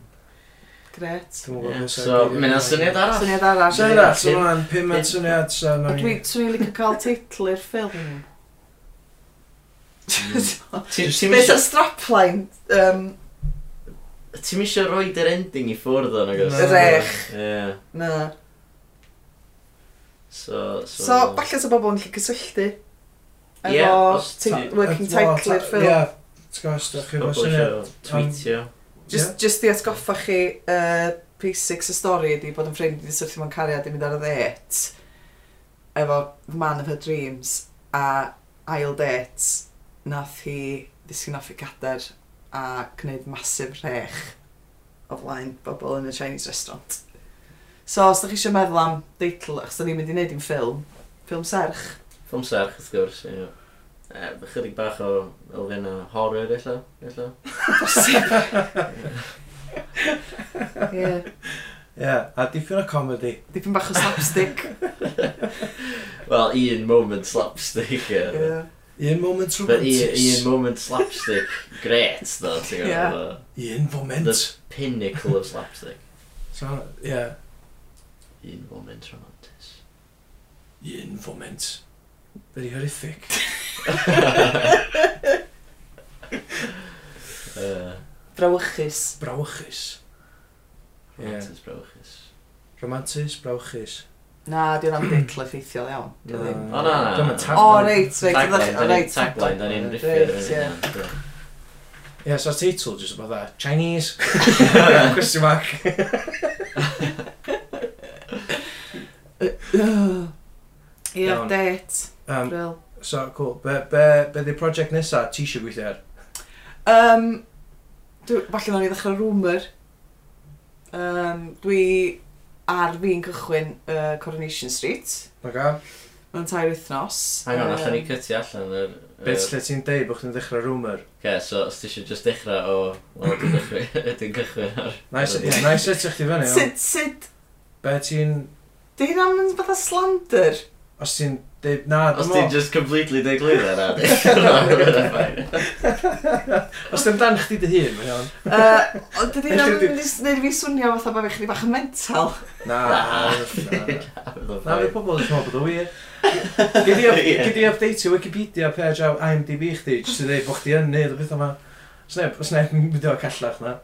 E: Gret.
C: Dwi'm yn gwbod
A: Ie,
C: beth sy'n
A: So,
C: digwydd.
A: mynd o'n syniad arall.
E: Syniad arall.
C: So yna, so mae'n pum yn syniad, so
E: A
C: nawn
E: dwi,
C: ni...
E: swn i'n licio cael teitl i'r ffilm.
C: Hmm.
A: Ti- Ti'm
E: [laughs] Beth
A: isio-
E: y strapline, um,
A: Ti'm isio roed yr ending i ffwrdd o'n agos?
C: Na.
E: Rech.
A: Ie.
E: na.
A: So,
E: So, falle sa bobl yn lle cysylltu.
A: Ie,
E: Efo
A: os ti-
E: tit- working
C: Wel, ta-
E: title i'r ffilm.
C: Ia, ti'n gwybod, os ydych chi'n
A: Pobl
C: gwybod syniad.
A: isio tweetio.
E: Just, just i atgoffa chi uh, basics y stori ydi bod yn ffrind i syrthio mewn cariad i mynd ar y ddet efo Man of Her Dreams a ail det nath hi ddisgyn off i gader a gwneud masif rech o flaen bobl yn y Chinese restaurant. So, os da chi eisiau meddwl am deitl, achos da ni'n mynd i wneud i'n ffilm, ffilm serch,
A: Ffilm serch, wrth gwrs, ie. E, chydig bach o elfen o horror, illa. illa.
C: [laughs]
E: yeah.
C: Ia, a dipyn o comedy.
E: dipyn bach o
A: [laughs]
E: slapstick.
A: Wel, un moment slapstick, ie.
E: yeah.
C: Un moment
A: But un, un
C: romantis.
A: moment slapstick, great, ddo, ti'n
E: Ie.
A: gwybod?
C: Un moment.
A: Pinnacle of slapstick.
C: So, ia.
A: Un moment
E: [laughs]
A: romantis.
C: Un foment. Very horrific.
A: Uh,
E: Brawychus.
C: Brawchus. Ie.
A: romantis brawchus.
C: Romantis, brawchus.
E: Na, di
A: Mm.
E: hwnna'n deitl effeithiol iawn. Di o ddim.
A: O, na, na, na.
C: Dyma
E: O,
C: tagline.
E: reit, reit.
A: Mm. Tagline,
E: oeddech-
A: da ni'n
E: reit,
A: tagline, da ni'n
E: reit,
A: riffio
E: ie.
A: ar hynny.
C: Ie, so teitl, jyst about that.
A: [laughs]
C: Chinese? Question mark.
E: Ie,
C: Iawn.
E: det.
C: Um,
E: Bryl.
C: so, cool. Be, be, be di prosiect nesa ti eisiau gweithio ar?
E: Um, dwi, falle nawn i ddechrau rumour. Um, dwi ar fi'n cychwyn uh, Coronation Street.
C: Oga?
E: Mae'n tair wythnos.
A: Hang on, allan ni
E: Yym,
A: cytu allan yr... yr-
C: Beth lle ti'n deud bod chdi'n dechrau rumour?
A: Oce, so os ti eisiau just dechrau o... Wel, dwi'n
E: [coughs]
A: dechrau... Dwi'n cychwyn ar...
C: Nice, yeah, nice setio chdi fyny. ond
E: Sut, sut,
C: Be ti'n...
E: di hynna'n mynd fatha slander?
C: Os ti'n deud... Na,
A: Os
C: dim
A: ti'n
C: ond.
A: just completely deglwydd ar
C: [laughs]
A: hynny.
C: Os ti'n dan chdi dy hun, mae'n iawn.
E: Uh, ond
A: [laughs]
E: dydy hynna'n mynd i s- neud fi swnio fatha bod fi'n bach yn mental.
C: Na, na, na. Na,
A: Na,
C: mae pobl yn teimlo bod o wir. Gyd i-
A: Ie.
C: gyd i updatio Wikipedia page a IMDb chdi, jyst i ddeud bod chdi yn neud o beth yma. Sneb, sneb yn mynd o callach na.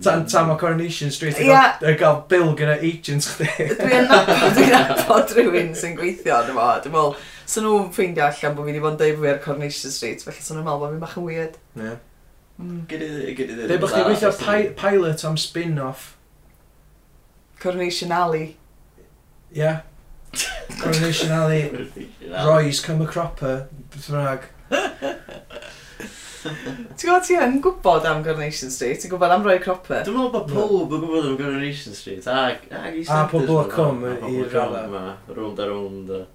C: Tan, tan mae Coronation Street yn
E: Ie.
C: gael- yn gael bil gyda agents chdi.
E: Dwi'n nabod, dwi'n nabod rhywun sy'n gweithio yn yma. Dwi'n meddwl, sy'n nhw'n ffeindio allan bod fi wedi bod yn deud bo fi ar Coronation Street, felly sy'n nhw'n meddwl bod fi'n bach yn weird.
C: Ne.
E: Mm.
A: Dei
C: Deu bod chdi gweithio pi- pilot am spin-off.
E: Coronation Alley.
C: Ie. Coronation Alley, Roy's Cymru Cropper, beth bynnag.
E: Ti'n gwybod ti yn gwybod am Coronation Street? Ti'n gwybod am Roy Cropper?
A: Dwi'n meddwl bod pob yn gwybod am Coronation Street ac ac i
C: A pobl yn cwm i'r gala.
A: gala. Rwnd a rwnd.
C: [laughs]
A: a-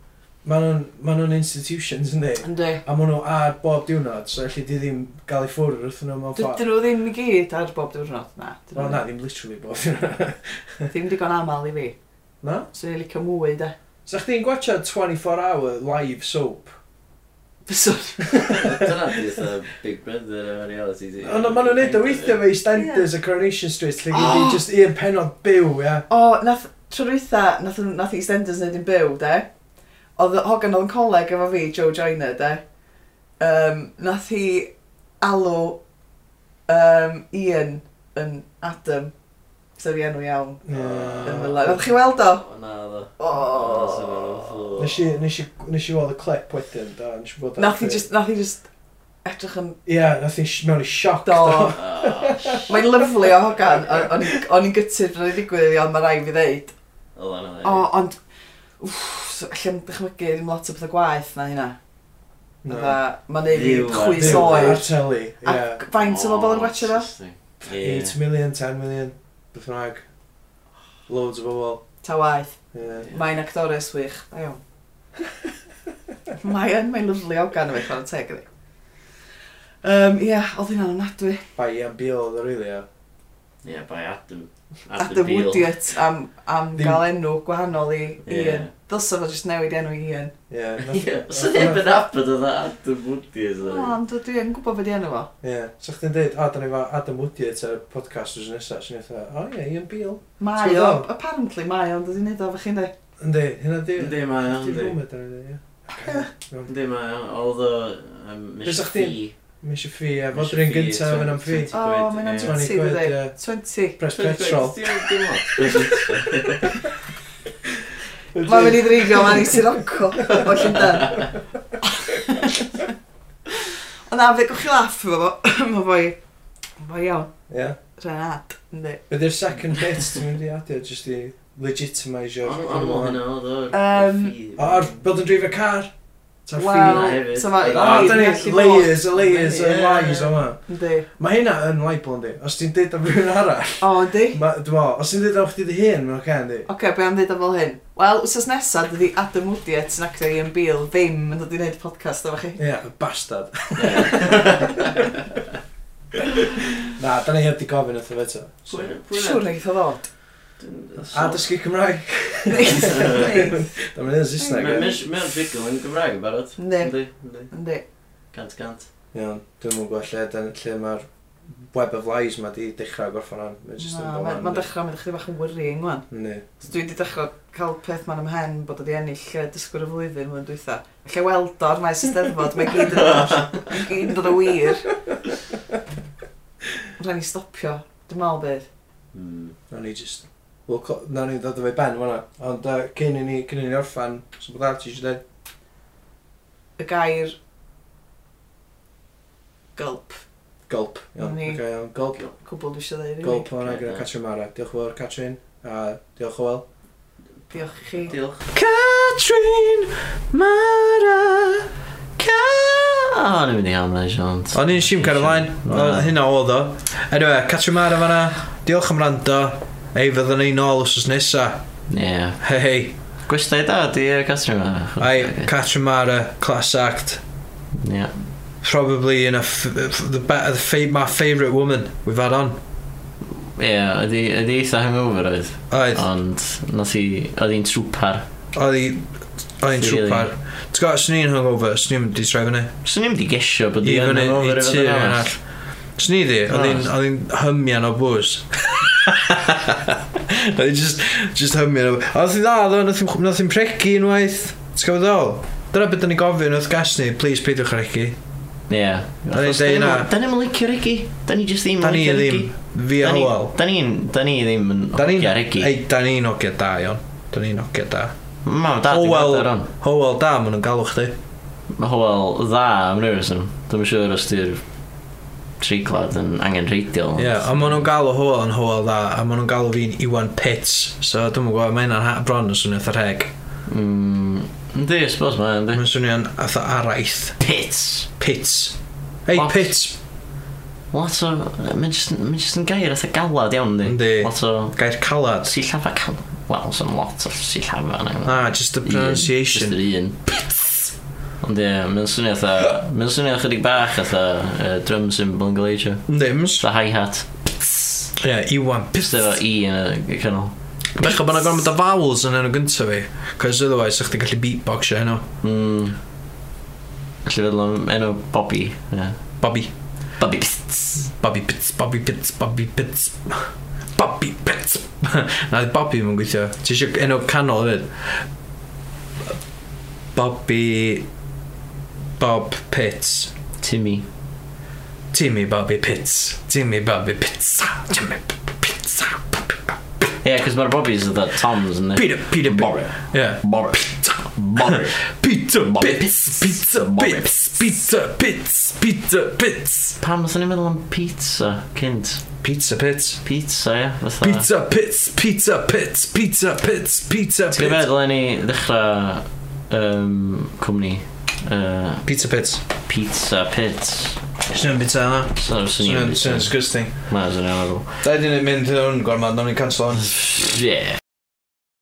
C: Ma' nhw'n ma' nhw'n institutions yn dweud.
E: Yndi.
C: A maen nhw ar bob diwrnod, so felly di ddim gael ei ffwrdd wrthyn nhw mewn ffordd.
E: Dydyn nhw ddim i gyd ar bob diwrnod, na. Dydyn
C: Wel
E: nhw
C: na, ddim literally bob diwrnod. [laughs]
E: Ddim digon aml i fi.
C: Na?
E: Swn i'n licio mwy, de.
C: So chdi'n gwachio 24 hour live soap?
E: Fyswn.
A: Dyna di eitha Big Brother yn reality TV.
C: Ond maen nhw'n neud o weithio fe i Stenders a Coronation Street lle gyd i
E: Oh!
C: just un penod byw, ia.
E: O, nath, tro rwytha, nath, nath EastEnders neud yn byw, de. Oedd Hogan oedd yn coleg efo fi, Joe Joyner, de. Um, nath hi alw um, Ian yn Adam, sef i enw iawn. Yn
C: Ie.
E: Milan. Nath chi weld o?
A: O, Na ddo.
E: O.
A: O.
C: Nes i nes i- nes i weld y clip wedyn, da, nes i bod
E: Nath hi just, nath hi just edrych yn...
C: Ie, nath i mewn i sioc.
E: Do.
A: Oh, sh-
E: Mae'n lyflu o hogan. o- O'n i- o'n i'n gytid bod o'n i ddigwydd iddi, ond mae rai fi ddeud.
A: Oedd hwnna
E: O,
A: ddeud.
E: ond... Wff, allan dychmygu ddim lot o bethau gwaith na hynna. No. Mae'n neud i
A: Fyw, a-
E: chwys
A: fyw,
E: oer.
C: Ar teli, ie.
E: Ac faint o bobl yn gwachio fo?
G: disgusting.
C: 8
A: Ie.
C: million, 10 million, beth rhaeg. Loads o bobl.
E: Ta waith.
C: Ie.
E: Mae'n actores wych. Da iawn. Mae'n mae'n lyflu o gan efo'i chwarae teg ydi. Um, Ie, oedd hynna'n ofnadwy.
C: Bai am bil oedd o rili, ie.
A: Ie, by Adam.
E: Adam
A: Beale.
E: Woodyat am, am
C: Ddim-
E: gael enw gwahanol i
A: Ie.
E: Ian. Dylsa fo jyst newid enw i Ian.
C: Ie.
A: Ie,
C: nath-
A: so ddim yn apod oedd Adam Woody
E: O,
A: ydw.
E: ond dwi yn gwybod beth i enw fo.
C: Ie. So chdi'n dweud, o, da ni efo Adam Woody at y podcast wrth nesaf. So ni'n dweud, o ie, Ian Beale.
E: Mae
C: Ti'n
E: o,
C: gwbo?
E: apparently mae o, ond dwi'n neud o fo chi'n de.
C: Yndi, hynna di.
A: Yndi, mae o,
C: Yndi.
A: yndi.
C: Yndi, yndi.
A: Yndi, mae o, although, um, Mr.
C: Fysa chdi-
A: Fee.
C: Mi eisiau ffi, a
A: Mis y
C: fod rhywun
A: ffi,
C: gyntaf yn am ffi.
A: 20
E: O,
A: quid,
E: mae'n
A: ie.
E: 20
C: 20 quid,
E: dwi.
C: ie.
E: 20.
C: Press petrol.
A: Dim ond.
E: Mae'n mynd i ddreifio ma'n i Sirocco o Llundain. Ond na, fe gwch chi laff efo fo. [coughs] Mae fo i... Mae iawn.
C: Ie.
E: Renat, yndi.
C: Ydy'r second bit ti'n mynd i adio, jyst i legitimise o'r...
A: Ond ond mae hynna oedd o'r
E: Yym,
A: fee.
C: O'r, bod yn drif y car. Ta'r
E: Wel,
C: ffi.
A: hefyd.
E: so mae...
C: O, da ni,
E: gallu
C: layers, y layers, y
A: Ie.
C: lies o'ma.
E: fod, Yndi.
C: Mae hynna yn libel yndi. Os ti'n deud am rhywun arall,
E: O, yndi.
C: ma- dwi'n meddwl, os ti'n deud am chdi dy hun, mae'n oce yndi.
E: Oce, okay, be am ddeud o fel hyn? Wel, wrthos nesaf, dydy Adam Woodiet yn actor Ian Beale ddim yn dod i wneud podcast efo chi.
C: Ie, y bastard. [laughs] Na, da ni heb di gofyn wrtho fe to.
A: Pwy- pwy na?
E: Siwr neith o [laughs] ddod.
C: A dysgu Cymraeg.
E: Neith.
C: Da mi'n un Saesneg.
A: Mae-
C: ie.
A: mae- Mae'n ffigl yn Gymraeg yn barod.
E: Yndi.
A: Yndi, yndi.
E: Yndi.
A: Cant cant.
C: Iawn, dwi'n mwyn gweld lle, dan- lle mae'r web of lies ma di dechrau gorffan am. Mae'n just yn
E: Na,
C: dod
E: Mae'n
C: am.
E: ma dechrau, mae'n dechrau bach yn worrying, wan.
C: Ni.
E: So dwi wedi dechrau cael peth ma'n ymhen bod wedi ennill yy, dysgwr y flwyddyn mwyn dwytha. Lle weld o'r maes ysteddfod, mae gyd yn dod, mae gyd yn dod o wir. Rhaid ni stopio, dwi'n meddwl bydd.
A: Hmm.
C: Na ni just... Wel, co- na ni ddod o fe i ben fanna. Ond uh, cyn i ni, cyn i ni orffan, so bod ar ti eisiau dweud?
E: Y gair... Gulp.
C: Gulp. Iawn,
E: Ni.
C: okay, iawn. Gulp.
E: Cwbl dwi eisiau ddeud. rili.
C: Gulp o'na
A: Ocê,
C: gyda
A: ie.
C: Catrin Mara. Diolch yn fawr, Catrin. A diolch o wel.
E: Diolch i chi.
A: Diolch.
C: Catrin Mara.
A: O, ni'n mynd i hamna i siant.
C: O'n i'n siwm gan ymlaen,
A: Na.
C: hynna oedd o. Anyway, Catrin Mara fanna, diolch am rando. Ei, fyddwn ni'n ôl wrth nesa.
A: Ie.
C: Hei hei.
A: Gwestiwn da, di uh, Catrin yma.
C: Ai, Catrin Mara, class act.
A: Ie.
C: Probably in a f- f- the, be- the fa- my favourite woman we've had on.
A: Ie, ydi ydi eitha hangover oedd.
C: Oedd,
A: Ond, nath i, oedd hi'n trwpar.
C: oedd hi... Oedd hi'n
A: Really?
C: trwpar. T'w gwybod, swn i'n hungover, swn i'n di troi fyny.
A: Swn i'n mynd i gesio bod
C: I
A: hi yn
C: fyny, i
A: hangover
C: tu
A: efo
C: yn all. Swn i ddi, oedd hi'n-
A: Honest.
C: oedd hi'n hymian o bwys. [laughs] Oedd hi'n just, just hymian o bwys. Oedd hi'n dda, ddo, nath hi'n- nath hi'n pregi unwaith. T'w gwybod ddol? Dyna beth da ni gofyn wrth gas ni, please peidiwch ar egi.
A: Ie.
C: ni'n
A: Achos
C: deud na.
A: Da ni'n mylicio regi. Da ni just ddim
C: Da ni
A: yn licio
C: ddim,
A: Mm, regi.
C: fi a hwel.
A: Da ni'n, da ni ddim yn
C: Da ni'n,
A: ogio regi.
C: ei, da ni'n ogio da, iawn. Da ni'n ogio da.
A: Mam, da, dwi'n
C: Hywel-
A: gwybod ar on.
C: Hywel da, maen nhw'n galw chdi.
A: Mae hwel dda am nervism. Dwi'n siŵr os di'r treiglad yn angen reidiol.
C: Ie, yeah, a maen nhw'n galw hwyl yn hwyl dda, a maen nhw'n galw fi'n Iwan Pits, so dwi'n gwybod, mae hynna'n ha- bron yn swnio eitha rheg.
A: Mm, Yndi, I suppose mae, yndi.
C: Mae'n swnio'n eitha araith.
A: Pits!
C: Pits. Ei,
A: What?
C: Pits.
A: Lot o... Mae'n just, mae'n just yn gair eitha galad iawn, di.
C: Yndi.
A: Lot o...
C: Gair calad.
A: Sillafa cal... Wel, sy'n lot o sillafa yna.
C: Ah, just the
A: Un,
C: pronunciation.
A: Just yr un. Ond ie, mae'n swnio eitha... Mae'n swnio chydig bach eitha uh, drum cymbal yn gael eisiau.
C: Yndi, mae'n s-
A: The hi-hat.
C: Ie, Iwan Pits.
A: Just efo i yn y canol.
C: Bech o bod yna gormod o vowels yn enw gyntaf fi, cos otherwise ych ti'n gallu e, beatboxio heno.
A: Mm. Felly feddwl am enw Bobby. ie.
C: Bobby.
A: Bobby Pits.
C: Bobby Pits, Bobby Pits, Bobby Pits. Bobby [laughs] Pits. Na, Bobby mae'n gweithio. Ti eisiau enw canol hefyd? Bobby... Bob Pits.
A: Timmy.
C: Timmy Bobby Pits. Timmy Bobby Pits. Timmy Bobby Pits.
A: Ie, yeah, cos mae'r Bobbys yna Toms yn
C: Peter, Peter Bobby. Yeah.
A: Bobby.
C: [laughs]
B: Mummy. Pizza Mummy.
C: Bits,
B: Pizza Mummy.
C: Bits, pizza, bits, pizza, bits.
A: Pam, os ni'n meddwl am pizza, cynt.
C: Pizza pits.
A: Pizza, ia? Fatha.
B: Uh.
C: Pizza pits, pizza pits, pizza pits, pizza
A: Ti'n
C: pits.
A: meddwl ni ddechrau um, cwmni uh,
C: Pizza pits.
A: Pizza Pits.
C: Swn i'n bita yna.
A: So, swn
C: Swn
A: i'n...
C: i'n disgusting.
A: Mae'n sy'n iawn ar ôl.
C: Da i ni'n mynd yn gormod, nawn ni'n cancel hwn.
A: Yeah.